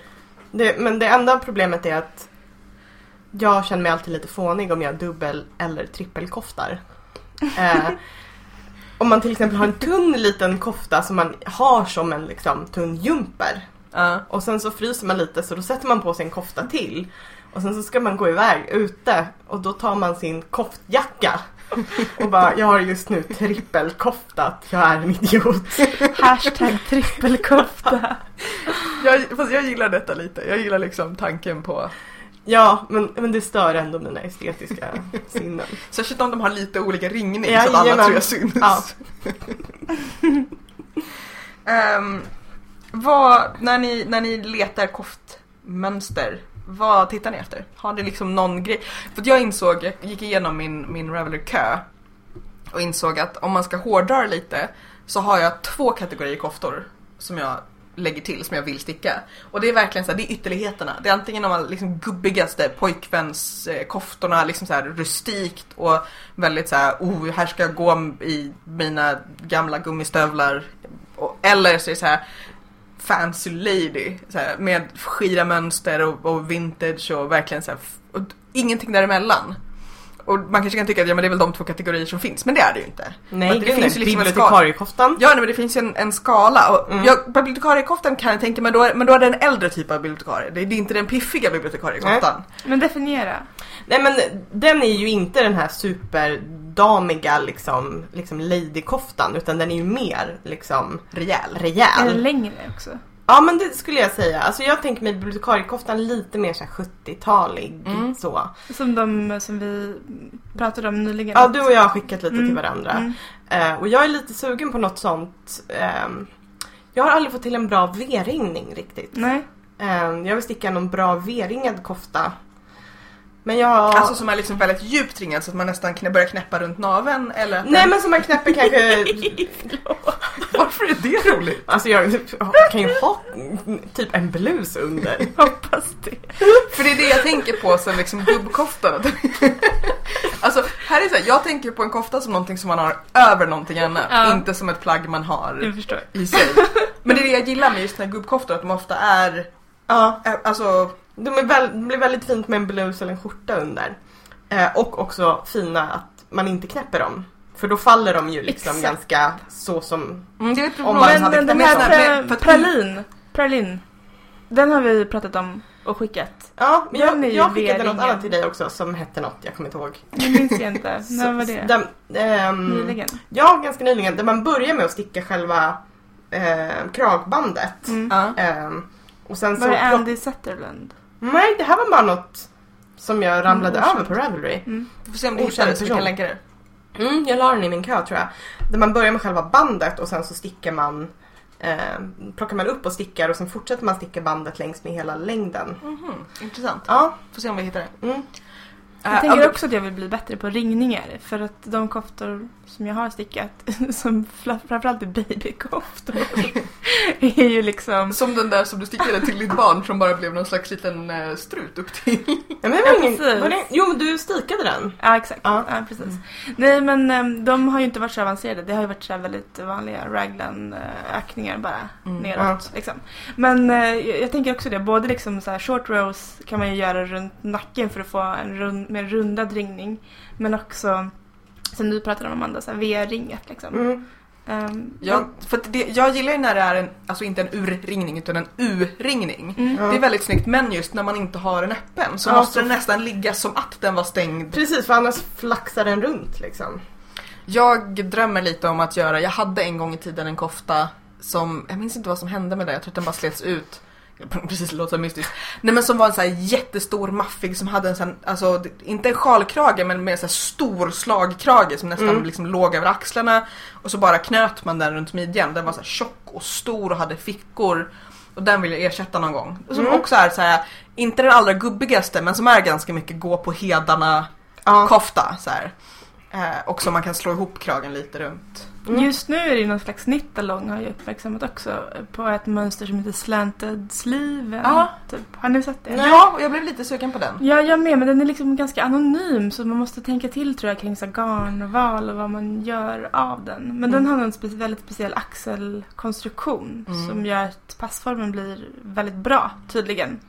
Det, men det enda problemet är att jag känner mig alltid lite fånig om jag har dubbel eller trippelkoftar. Eh, om man till exempel har en tunn liten kofta som man har som en liksom, tunn jumper
Ja.
och sen så fryser man lite så då sätter man på sig en kofta till och sen så ska man gå iväg ute och då tar man sin koftjacka och bara jag har just nu trippelkoftat, jag är en idiot.
Hashtag trippelkofta.
Jag, fast jag gillar detta lite, jag gillar liksom tanken på
Ja, men, men det stör ändå mina estetiska sinnen.
Särskilt om de har lite olika ringning
Ja,
så att alla
jajamän.
tre syns.
Ja.
Ehm, vad, när, ni, när ni letar koftmönster, vad tittar ni efter? Har ni liksom någon grej? För att jag insåg, jag gick igenom min, min Ravelry-kö och insåg att om man ska hårdra det lite så har jag två kategorier koftor som jag lägger till som jag vill sticka. Och det är verkligen så här, det är ytterligheterna. Det är antingen de här liksom gubbigaste pojkvänskoftorna, liksom så här rustikt och väldigt så här, oh, här ska jag gå i mina gamla gummistövlar. Och- Eller så är det så här fancy lady så här, med skira mönster och, och vintage och verkligen så här, f- och ingenting däremellan. Och man kanske kan tycka att ja, men det är väl de två kategorier som finns, men det är det ju inte.
Nej,
Men
det, finns ju liksom bibliotekariekoftan.
Ja, nej, men det finns ju en, en skala. Och
Mm.
jag, bibliotekariekoftan kan jag tänka mig, då är- men då är det en äldre typ av bibliotekarie. Det är, det är inte den piffiga bibliotekariekoftan.
Men definiera.
Nej men den är ju inte den här superdamiga liksom, liksom ladykoftan utan den är ju mer liksom
Rejäl.
Är den
rejäl.
längre också?
Ja men det skulle jag säga. Alltså jag tänker mig bibliotekariekoftan lite mer så här 70-talig
Mm.
så.
Som de som vi pratade om nyligen.
Ja du och jag har skickat lite till
Mm,
varandra.
mm.
Eh, och jag är lite sugen på något sånt. ehm, jag har aldrig fått till en bra V-ringning riktigt.
Nej.
Ehm, jag vill sticka någon bra V-ringad kofta. Men jag har...
Alltså som är liksom väldigt djupt ringad så att man nästan knä, börjar knäppa runt naveln eller att
Nej men som man knäpper kanske
Varför är det roligt?
Alltså jag kan ju ha typ en blus under.
Hoppas det.
För det är det jag tänker på som liksom gubbkoftan. alltså här är så här, jag tänker på en kofta som någonting som man har över någonting annat.
Ja. Mm.
Inte som ett plagg man har
Jag förstår.
i sig. Men det är det jag gillar med just den här gubbkoftor, att de ofta är,
Ja,
är alltså
de, är väl, de blir väldigt fint med en blus eller en skjorta under. Eh, och också fina att man inte knäpper dem. För då faller de ju liksom
Exakt.
ganska så som...
Mm, det är ett problem.
Om man
Men
hade
den, den
knäppt
här
dem. Men-
pra,
för att-
pralin, pralin. Den har vi pratat om och skickat.
Ja, men
Den är
jag,
ju
jag skickade något
V-ringen.
annat till dig också som hette något, jag kommer inte ihåg.
Det minns jag inte. Alltså, När var
Så-
det?
Den, ehm,
Nyligen?
Ja, ganska nyligen. Där man börjar med att sticka själva eh, kragbandet.
Mm.
Ja.
Ehm, och sen så
Var det
plock-
Andy Sutherland?
Nej, det här var bara något som jag ramlade
Mm,
över på Ravelry.
Mm.
Vi får se om du hittar
Okänd
det så vi kan
person.
länka det.
Mm, jag la den i min kö tror jag. Där man börjar med själva bandet och sen så stickar man eh, plockar man upp och stickar och sen fortsätter man sticka bandet längs med hela längden.
Mhm, Intressant.
Ja,
Får se om vi hittar det.
mm.
Jag
Eh,
tänker
ja,
också att jag vill bli bättre på ringningar för att de koftor som jag har stickat, som fla- framförallt är babykoftor, är ju liksom...
Som den där som du stickade till ditt barn som bara blev någon slags liten eh, strut upp till.
ja men det var
Ja,
ingen,
precis.
var det, jo, men du stikade den.
Ja, exakt.
Ja.
Ja. precis. Nej, men ehm, de har ju inte varit så avancerade. Det har ju varit så här väldigt vanliga raglan-ökningar bara
Mm.
neråt. Liksom. Men eh, jag, jag tänker också det, både liksom så här short rows kan man ju göra runt nacken för att få en rund, mer rundad ringning. Men också, som du pratade om Amanda, så här V-ringet liksom.
Mm.
Ehm,
Jag, för att det, jag gillar ju när det är en, alltså inte en urringning utan en u-ringning.
Mm.
Ja.
Det är väldigt snyggt men just när man inte har den öppen så
Ja,
måste
så-
den nästan ligga som att den var stängd.
Precis, för annars flaxar den runt liksom.
Jag drömmer lite om att göra, jag hade en gång i tiden en kofta som, jag minns inte vad som hände med den, jag tror att den bara slets ut. Precis, det låter så mystiskt. Nej men som var en så här jättestor maffig som hade en sån, alltså d- inte en sjalkrage men med en sån här stor slagkrage som nästan
Mm.
liksom låg över axlarna. Och så bara knöt man den runt midjan. Den var så här tjock och stor och hade fickor. Och den vill jag ersätta någon gång. Och Som
Mm.
också är så här, inte den allra gubbigaste men som är ganska mycket gå på hedarna
Ja.
kofta så här. Eh, och som man kan slå ihop kragen lite runt.
Mm.
Just nu är det ju någon slags nytt along har jag uppmärksammat också. eh, På ett mönster som heter slanted sleeven.
Ja.
Typ. Har ni sett det?
Ja, och jag blev lite sugen på den.
Ja, jag med. Men den är liksom ganska anonym så man måste tänka till tror jag kring så här garnval och vad man gör av den. Men den
Mm.
har en spe- väldigt speciell axelkonstruktion
Mm.
som gör att passformen blir väldigt bra tydligen.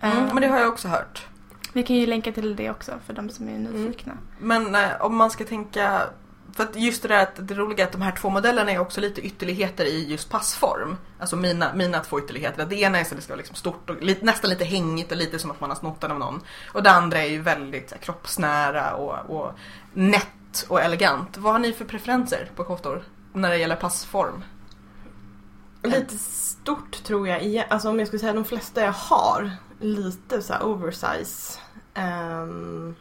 Mm,
Eh,
men det har jag också hört.
Vi kan ju länka till det också för de som är nyfikna.
Men eh, om man ska tänka, för att just det där att det roliga är att de här två modellerna är också lite ytterligheter i just passform. Alltså mina, mina två ytterligheter. Det ena är så att det ska vara liksom stort och lite, nästan lite hängigt och lite som att man har snott den av någon. Och det andra är ju väldigt så här, kroppsnära och, och nätt och elegant. Vad har ni för preferenser på koftor när det gäller passform?
Lite stort tror jag, igen. alltså om jag skulle säga de flesta jag har, lite så här oversize. ehm,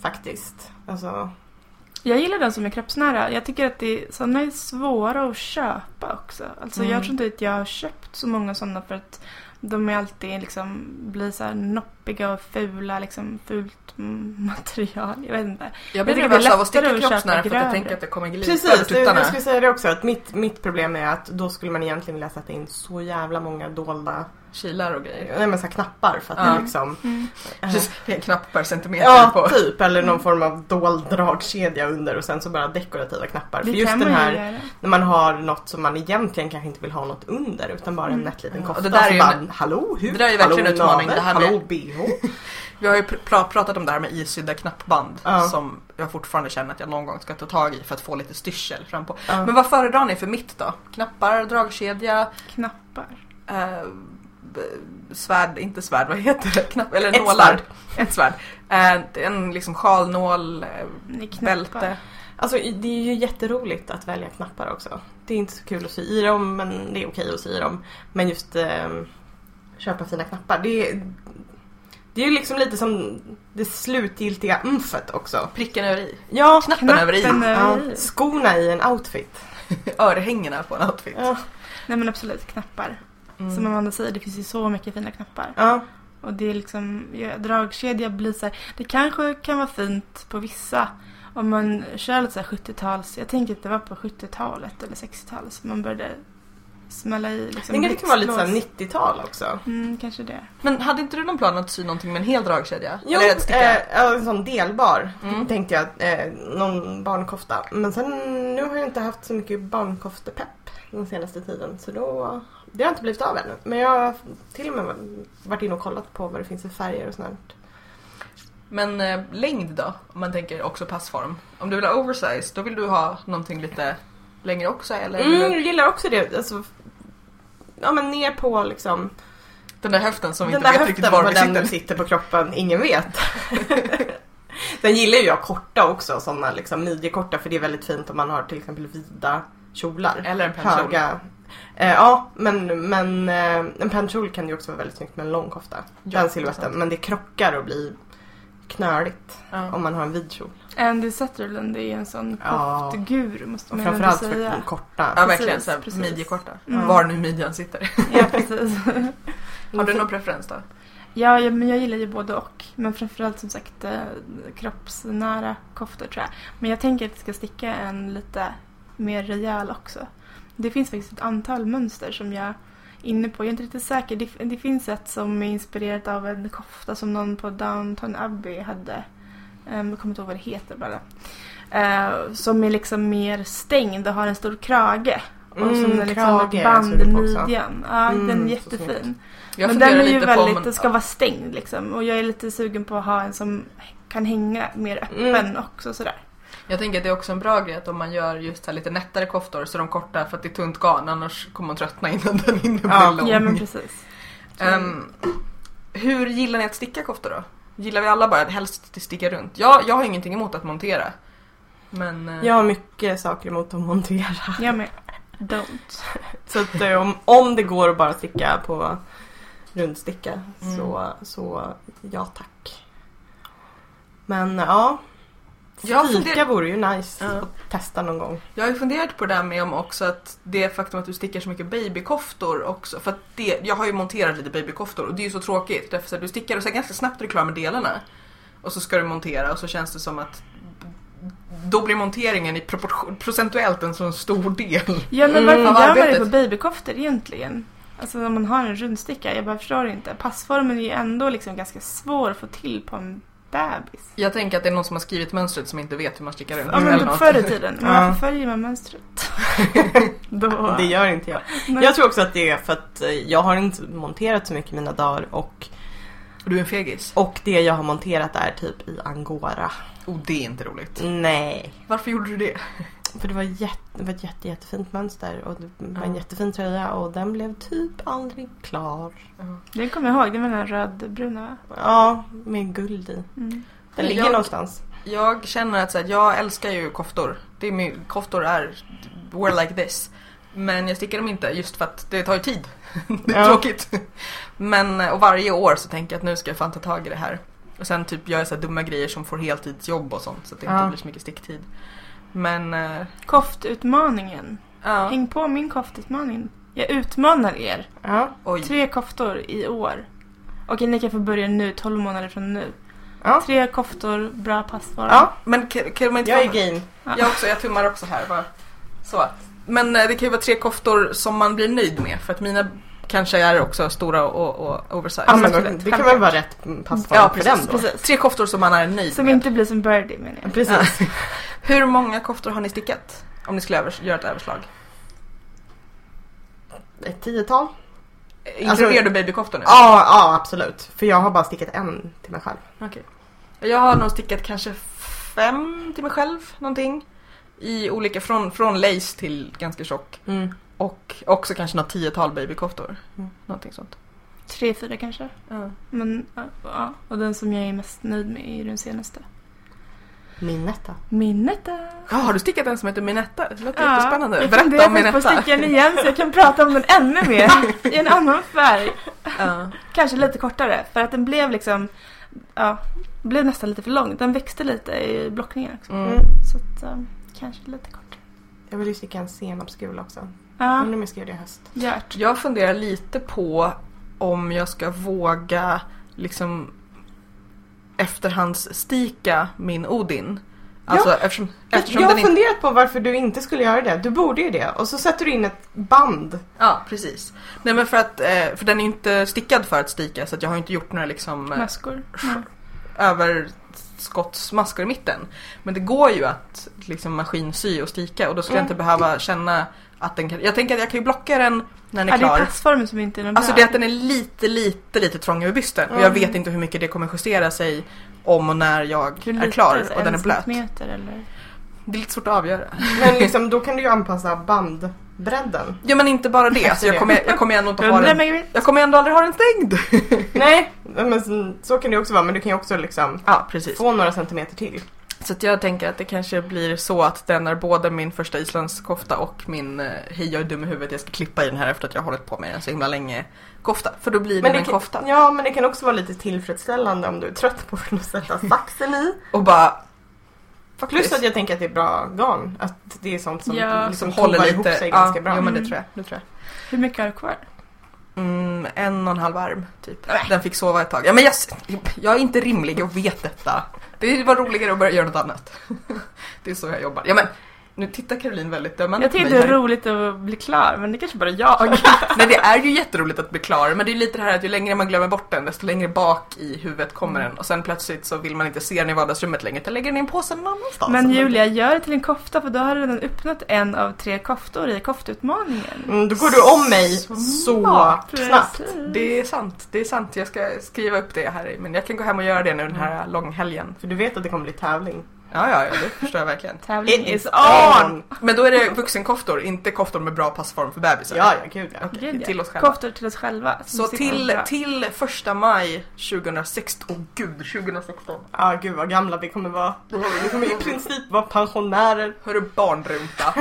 faktiskt. Alltså,
Jag gillar den som är kroppsnära. Jag tycker att det, sådana är svåra att köpa också. Alltså
Mm.
Jag tror inte att jag har köpt så många sådana för att de är alltid liksom, blir så här noppiga och fula, liksom fult mm, material. Jag vet inte.
Jag blir
Jag tycker det är
nervös av att
lättare
sticka
att köpa
kroppsnära för att jag
grövre.
tänker att det kommer glida över
precis, jag,
tuttarna.
jag skulle säga det också. Att mitt, mitt problem är att då skulle man egentligen vilja sätta in så jävla många dolda eh,
Kilar och grejer.
nej, men så här knappar för att
Ja.
det liksom... eh,
Precis, en knapp per centimeter
Ja,
på.
typ. Eller någon form av dold dragkedja under och sen så bara dekorativa knappar. För
Det
just
kan
den
man ju
här
göra.
när man har något som man egentligen kanske inte vill ha något under utan bara en
Mm.
nätt liten
Ja,
kofta.
och det där
så
är ju-
bara, hallå, hur?
det där är ju verkligen en
hallå,
utmaning,
navel?
det här med-
hallå, bh?
Vi har ju pr- pra- pratat om det här med isydda knappband
Ja.
som jag fortfarande känner att jag någon gång ska ta tag i för att få lite styrsel fram på.
Ja.
Men vad föredrar ni för mitt då? Knappar, dragkedja,
Knappar.
eh, b- svärd, inte svärd, vad heter det? Knapp, eller
Ett
nålar.
svärd.
Ett svärd. Eh, en liksom sjalnål, eh,
Det är knappar.
bälte.
Alltså det är ju jätteroligt att välja knappar också. Det är inte så kul att sy i dem men det är okej att sy i dem. Men just eh, köpa fina knappar. Det är, det är ju liksom lite som det slutgiltiga umfet också.
Pricken över i.
Ja,
Knappen över i.
Knappen
ja,
över i.
skorna i en outfit.
Örhängena på en outfit.
Ja,
Nej men absolut, knappar.
Mm.
Som Amanda säger, det finns ju så mycket fina knappar.
ja.
Och det är liksom, ja, dragkedja blir så här, det kanske kan vara fint på vissa. Om man kör lite så här 70-tals, jag tänker att det var på 70-talet eller 60-talet som man började smälla i liksom
Det kan vara lite
blixtlås.
såhär 90-tal också.
Mm, kanske det.
Men hade inte du någon plan att sy någonting med en hel dragkedja?
Jo,
Eller ett
eh,
stycke?
ja, en sån delbar
Mm.
tänkte jag. Eh, någon barnkofta. Men sen nu har jag inte haft så mycket barnkoftepepp den senaste tiden. Så då, det har inte blivit av ännu. Men jag har till och med varit inne och kollat på vad det finns för färger och sånt.
Men eh, längd då? Om man tänker också passform. Om du vill ha oversize, då vill du ha någonting lite längre också eller? vill
Mm,
Du,
jag gillar också det. Alltså, ja men ner på liksom.
den där höften som vi
den
inte
där
vet riktigt
höften
var
var
vi
den
sitter.
sitter. sitter på kroppen, ingen vet. Sen gillar ju jag korta också, sådana liksom midjekorta för det är väldigt fint om man har till exempel vida kjolar.
Eller en pennkjol.
höga. Eh, ja, men, men eh, en pennkjol kan ju också vara väldigt snyggt med en lång kofta.
Ja,
den
det är
silhuetten.
sant.
Men det krockar och blir knöligt
Ja.
om man har en vid kjol.
Andy Sutherland är ju en sån
Ja.
koftgur måste
Och
man ändå
framförallt för
säga.
korta.
Ja
precis,
verkligen, såhär
precis.
midjekorta.
Mm.
Var nu midjan sitter.
Ja, precis.
Har du någon preferens då?
Ja, jag, men jag gillar ju både och. Men framförallt som sagt eh, kroppsnära koftor tror jag. Men jag tänker att jag ska sticka en lite mer rejäl också. Det finns faktiskt ett antal mönster som jag är inne på. Jag är inte riktigt säker. Det, det finns ett som är inspirerat av en kofta som någon på Downton Abbey hade. Um, jag kommer inte ihåg vad det heter bara. Eh, som är liksom mer stängd och har en stor krage. Och
Mm,
som är liksom
krage
ett
är jag
band i
sugen på också.
midjan. Ja, den
Mm,
är
så
jättefin.
snyggt.
Jag
men
funderar
den är ju
lite på om
väldigt,
man-
den ska vara stängd liksom. Och jag är lite sugen på att ha en som kan hänga mer öppen
Mm.
också sådär.
Jag tänker att det är också en bra grej att om man gör just så här lite nättare koftor så är de korta för att det är tunt garn annars kommer man tröttna innan den hinner bli
Ja.
lång.
Ja men precis.
Ehm,
Hur gillar ni att sticka koftor då? Gillar vi alla bara att helst sticka runt? Jag, jag har ingenting emot att montera. Men eh,
Jag har mycket saker emot att montera.
Jag med. Don't.
Så att eh, om, om det går att bara sticka på rundsticka så, så ja tack. Men ja,
Jag
sticka
funderar-
vore ju nice
Ja.
att testa någon gång.
jag har ju funderat på det där med om också att det faktum att du stickar så mycket babykoftor också. För att det, jag har ju monterat lite babykoftor och det är ju så tråkigt. Därför att du stickar och sen ganska snabbt är du klar med delarna. Och så ska du montera och så känns det som att då blir monteringen i proportion, procentuellt en sån stor del.
Ja men
Mm,
varför
av
gör man det
arbetet.
på babykoftor egentligen? Alltså när man har en rundsticka, jag bara förstår inte. Passformen är ju ändå liksom ganska svår att få till på en bebis.
jag tänker att det är någon som har skrivit mönstret som inte vet hur man stickar runt.
Ja men
Mm.
eller
typ
något.
förr i tiden. Men
Ja.
varför följer man mönstret? Då...
Det gör inte jag.
Nej.
Jag tror också att det är för att eh, jag har inte monterat så mycket i mina dagar och,
Du är en fegis.
och det jag har monterat är typ i angora.
Och Oh, det är inte roligt.
Mm. Nej.
Varför gjorde du det?
För det var, jätte, det var ett jätte, jättefint mönster och det var en
Ja.
jättefin tröja och den blev typ aldrig klar.
Den kommer jag ihåg, den var den här rödbruna va?
Ja, med guld i.
Mm.
Den ligger
Jag-
någonstans.
Jag känner att så här, jag älskar ju koftor. Det är min, koftor är we're like this. Men jag stickar dem inte just för att det tar ju tid. Det är
Ja.
tråkigt. Men och varje år så tänker jag att nu ska jag fan ta tag i det här. Och sen typ gör jag så här dumma grejer som får heltidsjobb och sånt så att det
Ja.
inte blir så mycket sticktid. Men eh,
Koftutmaningen.
ja, Mm.
Häng på min koftutmaning. Jag utmanar er.
Ja,
oj.
Tre koftor i år. Okej, ni kan få börja nu, 12 månader från nu.
Ja.
Tre koftor, bra passform.
Ja.
Men kan, kan man inte
jag
få-
är game.
Jag också, jag tummar också här bara. Så. Men eh, det kan ju vara tre koftor som man blir nöjd med för att mina kanske är också stora och, och oversized.
Ja,
Så
men det kan väl vara rätt passform
Ja,
för den
precis,
då?
precis. Tre koftor som man är nöjd
Som
med.
inte blir som Birdie menar jag.
Precis.
Hur många koftor har ni stickat? Om ni skulle övers- göra ett överslag.
Ett tiotal?
Eh, Inkluderar du babykoftor nu?
Alltså- Ja, ja absolut. För jag har bara stickat en till mig själv.
Jag har nog stickat kanske fem till mig själv, någonting. I olika, från, från lace till ganska tjock. Och också kanske något tiotal babykoftor.
Mm.
Någonting sånt.
Tre, fyra kanske. Men, ja, ja. Och den som jag är mest nöjd med är ju den senaste.
Minnet då?
Minnet då?
Ja, har du stickat en som heter Minetta? Det låter
Ja,
jättespännande.
jag
Berätta
funderar
om
faktiskt på att
Minetta.
sticka den igen så jag kan prata om den ännu mer i en annan färg.
Ja.
Kanske lite kortare för att den blev liksom, ja, blev nästan lite för lång. Den växte lite i blockningar också.
Mm.
Mm.
Så att, eh, kanske lite kortare.
Jag vill ju sticka en senapsgul också. Undrar
Ja,
om jag ska göra det i höst.
gjort.
Jag funderar lite på om jag ska våga liksom efterhandsstika min Odin. Alltså eftersom, eftersom
jag har
den inte...
funderat på varför du inte skulle göra det. Du borde ju det. Och så sätter du in ett band.
Ja, precis. Nej men för att, eh, för den är inte stickad för att stika så att jag har inte gjort några liksom eh,
Maskor. Ja.
överskottsmaskor i mitten. Men det går ju att liksom maskinsy och stika och då ska jag
Mm.
inte behöva känna att den kan... Jag tänker att jag kan ju blocka den när den
Ja,
är
det är
klar.
passformen som inte är den
Alltså
bra.
det är att den är lite, lite, lite trång över bysten. Och jag
Mm.
vet inte hur mycket det kommer justera sig om och när jag
Hur
är
lite,
klar
alltså,
och den
en
är blöt.
centimeter eller?
Det är lite svårt att avgöra.
Men liksom, då kan du ju anpassa bandbredden.
Ja men inte bara det. Alltså, jag, kommer, jag kommer ändå inte ha
100
den.
megabit.
Jag kommer ändå aldrig ha den stängd.
Nej, men så- så kan det ju också vara. Men du kan ju också liksom
Ja precis.
få några centimeter till.
Så att jag tänker att det kanske blir så att den är både min första islandskofta och min eh, hej jag är dum i huvudet jag ska klippa i den här efter att jag har hållit på med den så himla länge kofta. För då blir
Men
den
det,
en kofta.
kan, ja, men det kan också vara lite tillfredsställande om du är trött på att sätta saxen i.
Och bara...
Plus
Faktiskt.
att jag tänker att det är bra garn. Att det är sånt som
Ja,
liksom
som håller
håller ihop
lite.
sig
Ja,
ganska bra.
Jo men det
Mm.
tror jag. Det tror jag.
Hur mycket har du kvar?
Mm, en och en halv arm typ. Den fick sova ett tag. Ja, men jag, jag är inte rimlig, jag vet detta. Det var roligare att börja göra något annat. Det är så jag jobbar. Ja, men, nu tittar Caroline väldigt dömande
Jag tycker
på
det
mig
är
här.
roligt att bli klar men det kanske bara jag.
Nej det är ju jätteroligt att bli klar men det är lite det här att ju längre man glömmer bort den desto längre bak i huvudet kommer den och sen plötsligt så vill man inte se den i vardagsrummet längre utan lägger den i en påse någon annanstans.
Men Julia, gör det till en kofta för då har du redan uppnått en av tre koftor i koftutmaningen.
Mm, då går du om mig så
Smart.
snabbt.
Det är sant, det är sant. Jag ska skriva upp det här men jag kan gå hem och göra det nu den här långhelgen.
För du vet att det kommer bli tävling.
Ja, ja, ja, det förstår jag verkligen.
Tävling
It is on! Men då är det vuxenkoftor, inte koftor med bra passform för bebisar.
Ja, ja, gud ja.
Okej,
Gud, ja.
till oss själva.
Koftor till oss själva. som
Så
sitter
till,
bra.
till första maj 2016. Åh gud, 2016.
Ja, gud vad gamla vi kommer vara. Vi kommer i princip vara pensionärer.
Hörru barnrumpa.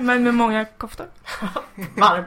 Men med många koftor.
Varm.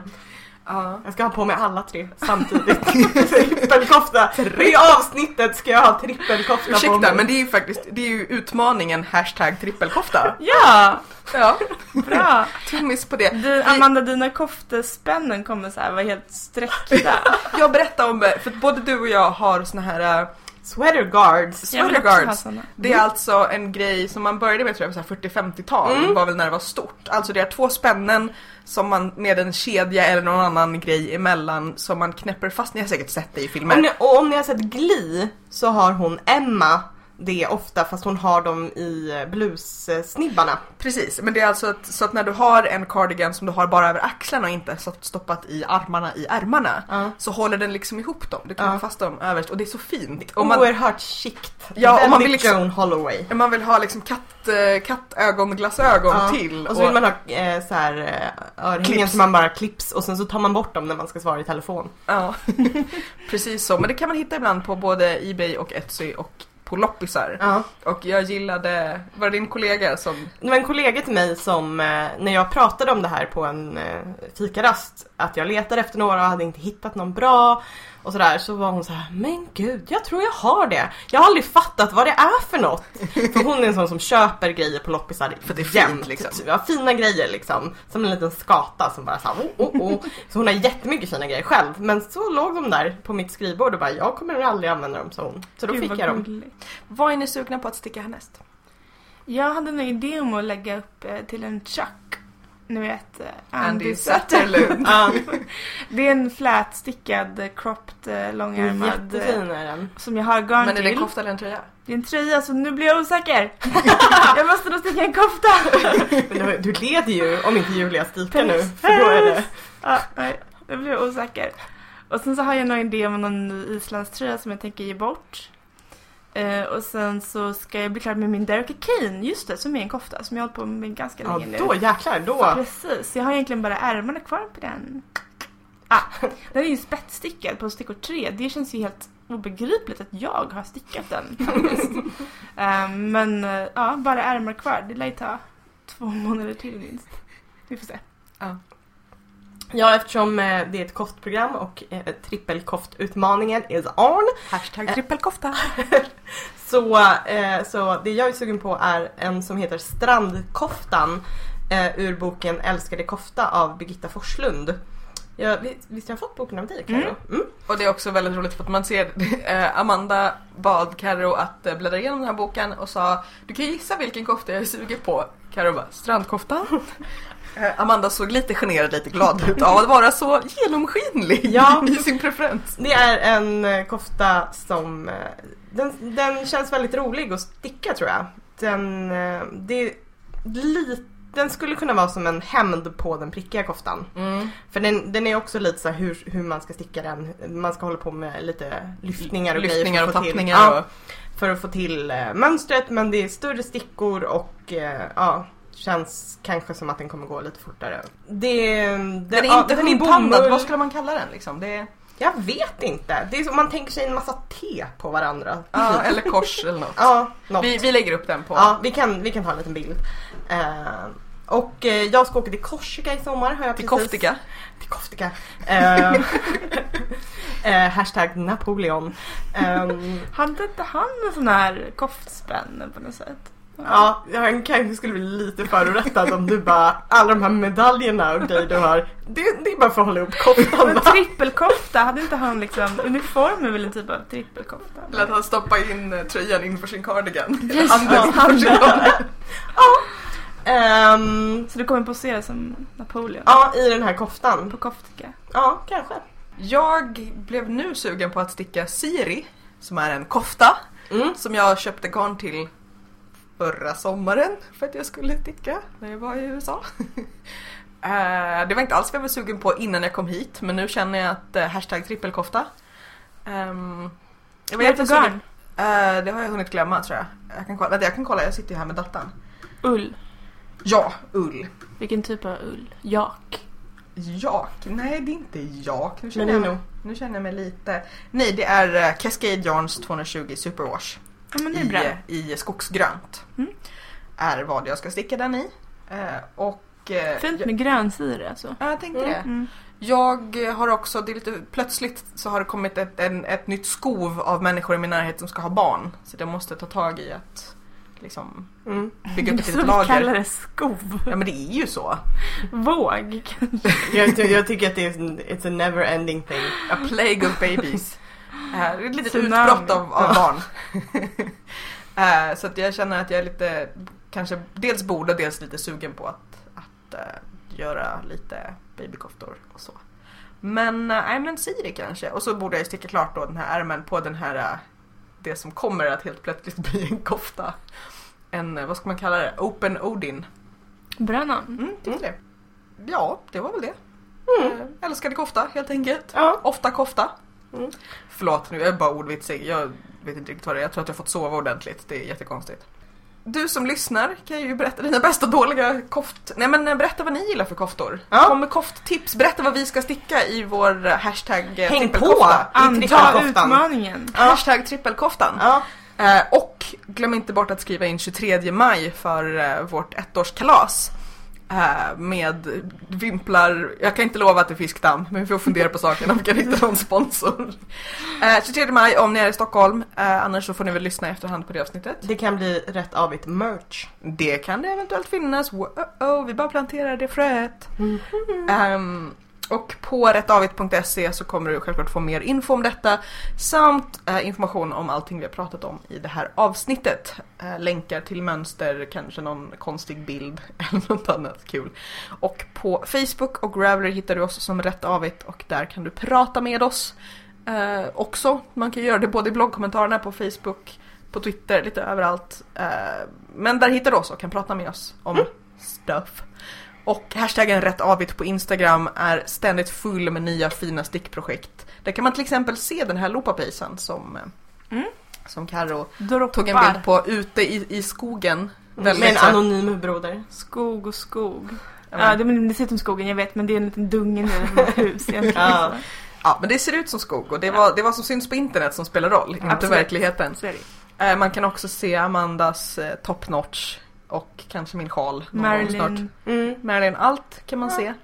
Ja.
Jag ska ha på mig alla tre samtidigt. trippelkofta. I avsnittet ska jag ha trippelkofta på
Ursäkta,
mig.
men det är ju faktiskt det är ju utmaningen hashtag trippelkofta.
Ja,
Ja,
bra.
tummis på det.
Du, Amanda, dina koftaspännen kommer så här vara helt sträckta. Alltså,
Jag berättar om, eh, för att både du och jag har såna här äh,
Sweater guards.
Jag
sweater
vill också ha
guards.
såna.
Det
Mm.
är alltså en grej som man började med tror jag på så här 40-50-tal,
Mm.
var väl när det var stort. Alltså det är två spännen som man med en kedja eller någon annan grej emellan som man knäpper fast. Ni har säkert sett det i filmer.
Om ni, och om ni har sett Glee så har hon Emma det ofta fast hon har dem i eh, blussnibbarna.
Precis, men det är alltså att, så att när du har en cardigan som du har bara över axlarna och inte så- stoppat i armarna i ärmarna
Ja.
så håller den liksom ihop dem. Du kan
Ja. Oh,
ha fast dem överst och det är så fint. Om man,
Oerhört chikt.
Ja, om man
Väldigt
vill liksom-
Joan Holloway.
om man vill ha liksom katt, eh, kattögonglasögon
Ja.
till.
Och så vill man ha eh, så här, eh, örhängen
Clips.
som man bara klipps och sen så tar man bort dem när man ska svara i telefon.
ja. Precis så, men det kan man hitta ibland på både Ebay och Etsy och på loppisar.
Ja.
Och jag gillade, var det din kollega som...
Det var en kollega till mig som, eh, när jag pratade om det här på en eh, fikarast, att jag letade efter några och hade inte hittat någon bra och sådär, så var hon så här: men gud, jag tror jag har det. Jag har aldrig fattat vad det är för något. För hon är en sån som köper grejer på loppisar
För det är fint, liksom.
Ja, fina grejer liksom. Som en liten skata som bara såhär, oh, oh, oh. Så hon har jättemycket fina grejer själv. Men så låg de där på mitt skrivbord och bara, jag kommer aldrig använda dem, sa hon. Så då
Gud,
fick
vad
jag dem.
gulligt.
Vad är ni sugna på att sticka härnäst?
Jag hade en idé om att lägga upp eh, till en chuck. Ni vet, eh, Andy,
Andy
Sutherland.
Sutherland.
Ja,
Det är en flätstickad, eh, cropped, eh, långärmad. eh,
jättefin är den.
Som jag har garn
Men är det
till.
en kofta eller en tröja?
det är en tröja så nu blir jag osäker. jag måste nog sticka en kofta.
Men du, du leder ju om inte Julia sticker nu. För då är det...
Ja, nej, nu blir jag osäker. Och sen så har jag någon idé om någon ny islandströja som jag tänker ge bort. Eh, och sen så ska jag bli klar med min Derek Kane, just det, som är en kofta som jag har hållit på med ganska
Ja,
länge nu.
då jäklar, då.
Precis, jag har egentligen bara ärmarna kvar på den. Ah, den är ju spetsstickad på stickor 3. Det känns ju helt obegripligt att jag har stickat den faktiskt. Eh, men eh, ja, bara ärmar kvar. Det lär ju ta två månader till minst. Vi får se.
Ja, eftersom eh, det är ett koftprogram och eh, trippelkoftutmaningen is on.
Hashtag trippelkofta.
Så, eh, så det jag är sugen på är en som heter Strandkoftan eh, ur boken Älskade kofta av Birgitta Forslund. Ja, vi- visst har jag fått boken av dig Carro?
Mm.
Mm.
Och det är också väldigt roligt för att man ser eh, Amanda bad Karo att eh, bläddra igenom den här boken och sa Du kan gissa vilken kofta jag är sugen på. Karo bara strandkoftan. Eh, Amanda såg lite generad, lite glad ut av att vara så genomskinlig
Ja.
i sin preferens.
Det är en eh, kofta som... eh, Den, den känns väldigt rolig att sticka tror jag. Den, eh, det är lite, den skulle kunna vara som en hämnd på den prickiga koftan.
Mm.
För den, den är också lite så här hur, hur man ska sticka den. Man ska hålla på med lite lyftningar och
Lyftningar
grejer.
och
för att få till-
tappningar.
Ja,
och,
för att få till eh, mönstret men det är större stickor och eh, ja, känns kanske som att den kommer gå lite fortare. Det, den,
den är
ja,
inte
den är
hundpandad,
bomull.
vad skulle man kalla den liksom? Det är,
Jag vet inte. Det är som man tänker sig en massa T på varandra. Typ.
ja, eller kors eller något.
Ja, något.
Vi, vi lägger upp den på.
Ja, vi kan, vi kan ta en liten bild. Eh, och eh, jag ska åka till Korsika i sommar har jag
Till
precis-
Koftika.
Till Koftika. Eh, eh, hashtag Napoleon. Ehm,
Hade inte han en sån här koftspänn på något sätt?
ja, han kanske skulle bli lite förorättad om du bara, alla de här medaljerna och grejer du har, det, det är bara för att hålla ihop koftan.
Men
va?
trippelkofta, hade inte han liksom uniform är väl en typ av trippelkofta?
Eller att han stoppar in eh, tröjan inför sin cardigan.
Yes.
Handen
Ja,
inför sin cardigan.
Ehm,
Så du kommer posera som Napoleon
ja, i den här koftan.
på koftika?
Ja, kanske.
Jag blev nu sugen på att sticka Siri, som är en kofta
Mm.
som jag köpte garn till förra sommaren för att jag skulle sticka när jag var i USA. Eh, det var inte alls vad jag var sugen på innan jag kom hit men nu känner jag att eh, hashtag trippelkofta. Ehm, jag
Vad är det för
jättesugen-
garn?
Eh, det har jag hunnit glömma tror jag. Jag kan kolla, vänta, jag kan kolla, jag sitter ju här med datan.
Ull.
Ja, ull.
Vilken typ av ull? Jak.
Jak? Nej, det är inte jak. Nu känner, jag mig,
Merino.
nu känner jag mig lite... Nej, det är eh, Cascade Yarns 220 Superwash
Ja men det är bra.
i, i skogsgrönt.
Mm.
Är vad jag ska sticka den i. Eh, och... eh,
Fint
jag,
med grönsyra alltså.
Ja, jag tänkte det.
Mm.
Jag har också, det är lite plötsligt så har det kommit ett, en, ett nytt skov av människor i min närhet som ska ha barn. Så jag måste ta tag i att liksom
Mm.
bygga upp
Det
ett
är
litet
så vi kallar
lager.
det skov.
Ja men det är ju så.
Våg.
Jag, ty- jag tycker att det är en, it's a never ending thing.
A plague of babies. Eh, det är ett litet
Tsunami.
utbrott av, av barn. Eh, så att jag känner att jag är lite, kanske dels borde och dels lite sugen på att, att eh, göra lite babykoftor och så. Men eh, nej men Siri kanske. Och så borde jag ju sticka klart då den här ärmen på den här, eh, det som kommer att helt plötsligt bli en kofta. En, eh, vad ska man kalla det, Open Odin.
Bra namn.
Mm, tyckte det. Ja, det var väl det. Eh, Älskade kofta helt enkelt.
Ja.
Ofta kofta.
Mm.
Förlåt, nu är jag bara ordvitsig. Jag vet inte riktigt vad det är. Jag tror att jag har fått sova ordentligt. Det är jättekonstigt. Du som lyssnar kan ju berätta dina bästa dåliga koft... Nej men eh, berätta vad ni gillar för koftor.
Ja.
Kom med kofttips. Berätta vad vi ska sticka i vår eh, hashtag eh,
Häng på!
trippelkofta.
I
Anta
trippelkoftan.
utmaningen.
Hashtag trippelkoftan.
Ja.
Eh, och glöm inte bort att skriva in 23 maj för eh, vårt ettårskalas. Eh, med vimplar, jag kan inte lova att det är fiskdamm men vi får fundera på saken om vi kan hitta någon sponsor. Eh, 23 maj om ni är i Stockholm, eh, annars så får ni väl lyssna i efterhand på det avsnittet.
Det kan bli rätt avigt merch.
Det kan det eventuellt finnas, wow, oh, vi bara planterar det fröet.
Mm.
Ehm, och på rättavigt.se E så kommer du självklart få mer info om detta samt eh, information om allting vi har pratat om i det här avsnittet. Eh, länkar till mönster, kanske någon konstig bild eller något annat kul. Och på Facebook och Gravelry hittar du oss som Rättavigt och där kan du prata med oss eh, också. Man kan göra det både i bloggkommentarerna på Facebook, på Twitter, lite överallt. Eh, men där hittar du oss och kan prata med oss om stuff. Och hashtaggen rättavigt på Instagram är ständigt full med nya fina stickprojekt. Där kan man till exempel se den här lopapejsan som, eh,
Mm.
som Karo
Droppar.
tog en bild på ute i, i
Mm.
skogen. Väldigt
Med en
så här-
anonym broder.
Skog och skog.
Ja,
Ja,
men-
det, men det ser ut som skogen, jag vet, men det är en liten dunge nu i ett hus egentligen.
Ja.
Så.
Ja, men det ser ut som skog och det var det var som syns på internet som spelar roll, inte
Absolut.
verkligheten.
Så är det.
Eh, man kan också se Amandas eh, top notch och kanske min sjal någon gång snart.
Marilyn.
Mm.
Marilyn, allt kan man se.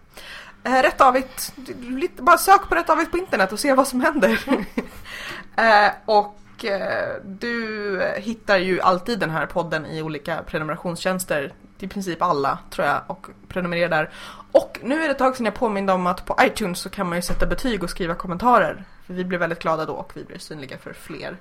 Eh, Rättavigt, lite, bara sök på Rättavigt på internet och se vad som händer. eh, och eh, du eh, hittar ju alltid den här podden i olika prenumerationstjänster. I princip alla tror jag och prenumerera där. Och nu är det ett tag sedan jag påminde om att på iTunes så kan man ju sätta betyg och skriva kommentarer. För vi blir väldigt glada då och vi blir synliga för fler.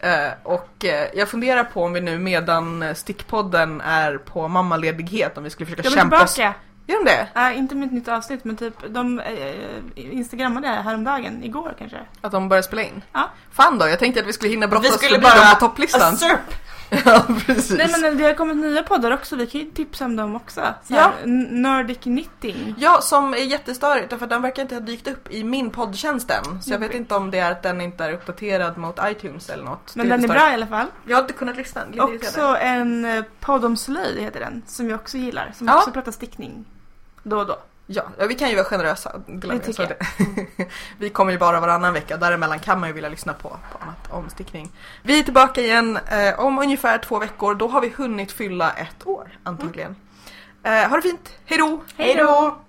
Eh, och eh, jag funderar på om vi nu medan eh, stickpodden är på mammaledighet om vi skulle försöka
De är
kämpa oss
tillbaka!
Gör de det?
Ja, inte med ett nytt avsnitt, men typ de eh, instagrammade häromdagen, igår kanske.
Att de börjar spela in?
Ja.
Fan då, jag tänkte att vi skulle hinna brotta
Vi
oss
skulle
förbi
bara-
dem på topplistan.
Usurp!
ja, precis.
Alltså- Nej men det har kommit nya poddar också, vi kan ju tipsa om dem också. Så
Ja.
här, N- Nordic Knitting.
Ja, som är jättestörigt därför att den verkar inte ha dykt upp i min poddtjänst än. Så jag
Mm.
vet inte om det är att den inte är uppdaterad mot iTunes eller något.
Men
Det
den är
störigt.
bra i alla fall.
Jag har inte kunnat lyssna. Lite irriterande.
Också en eh, podd om slöjd heter den, som jag också gillar. Som
Ja.
också pratar stickning. Då och då.
Ja, ja, vi kan ju vara generösa. glömmer
Det tycker
jag, så det- vi kommer ju bara varannan vecka, däremellan kan man ju vilja lyssna på, på annat om stickning. Vi är tillbaka igen eh, om ungefär två veckor,
Mm.
då har vi hunnit fylla ett år antagligen. Eh, ha det fint, hejdå!
Hej då!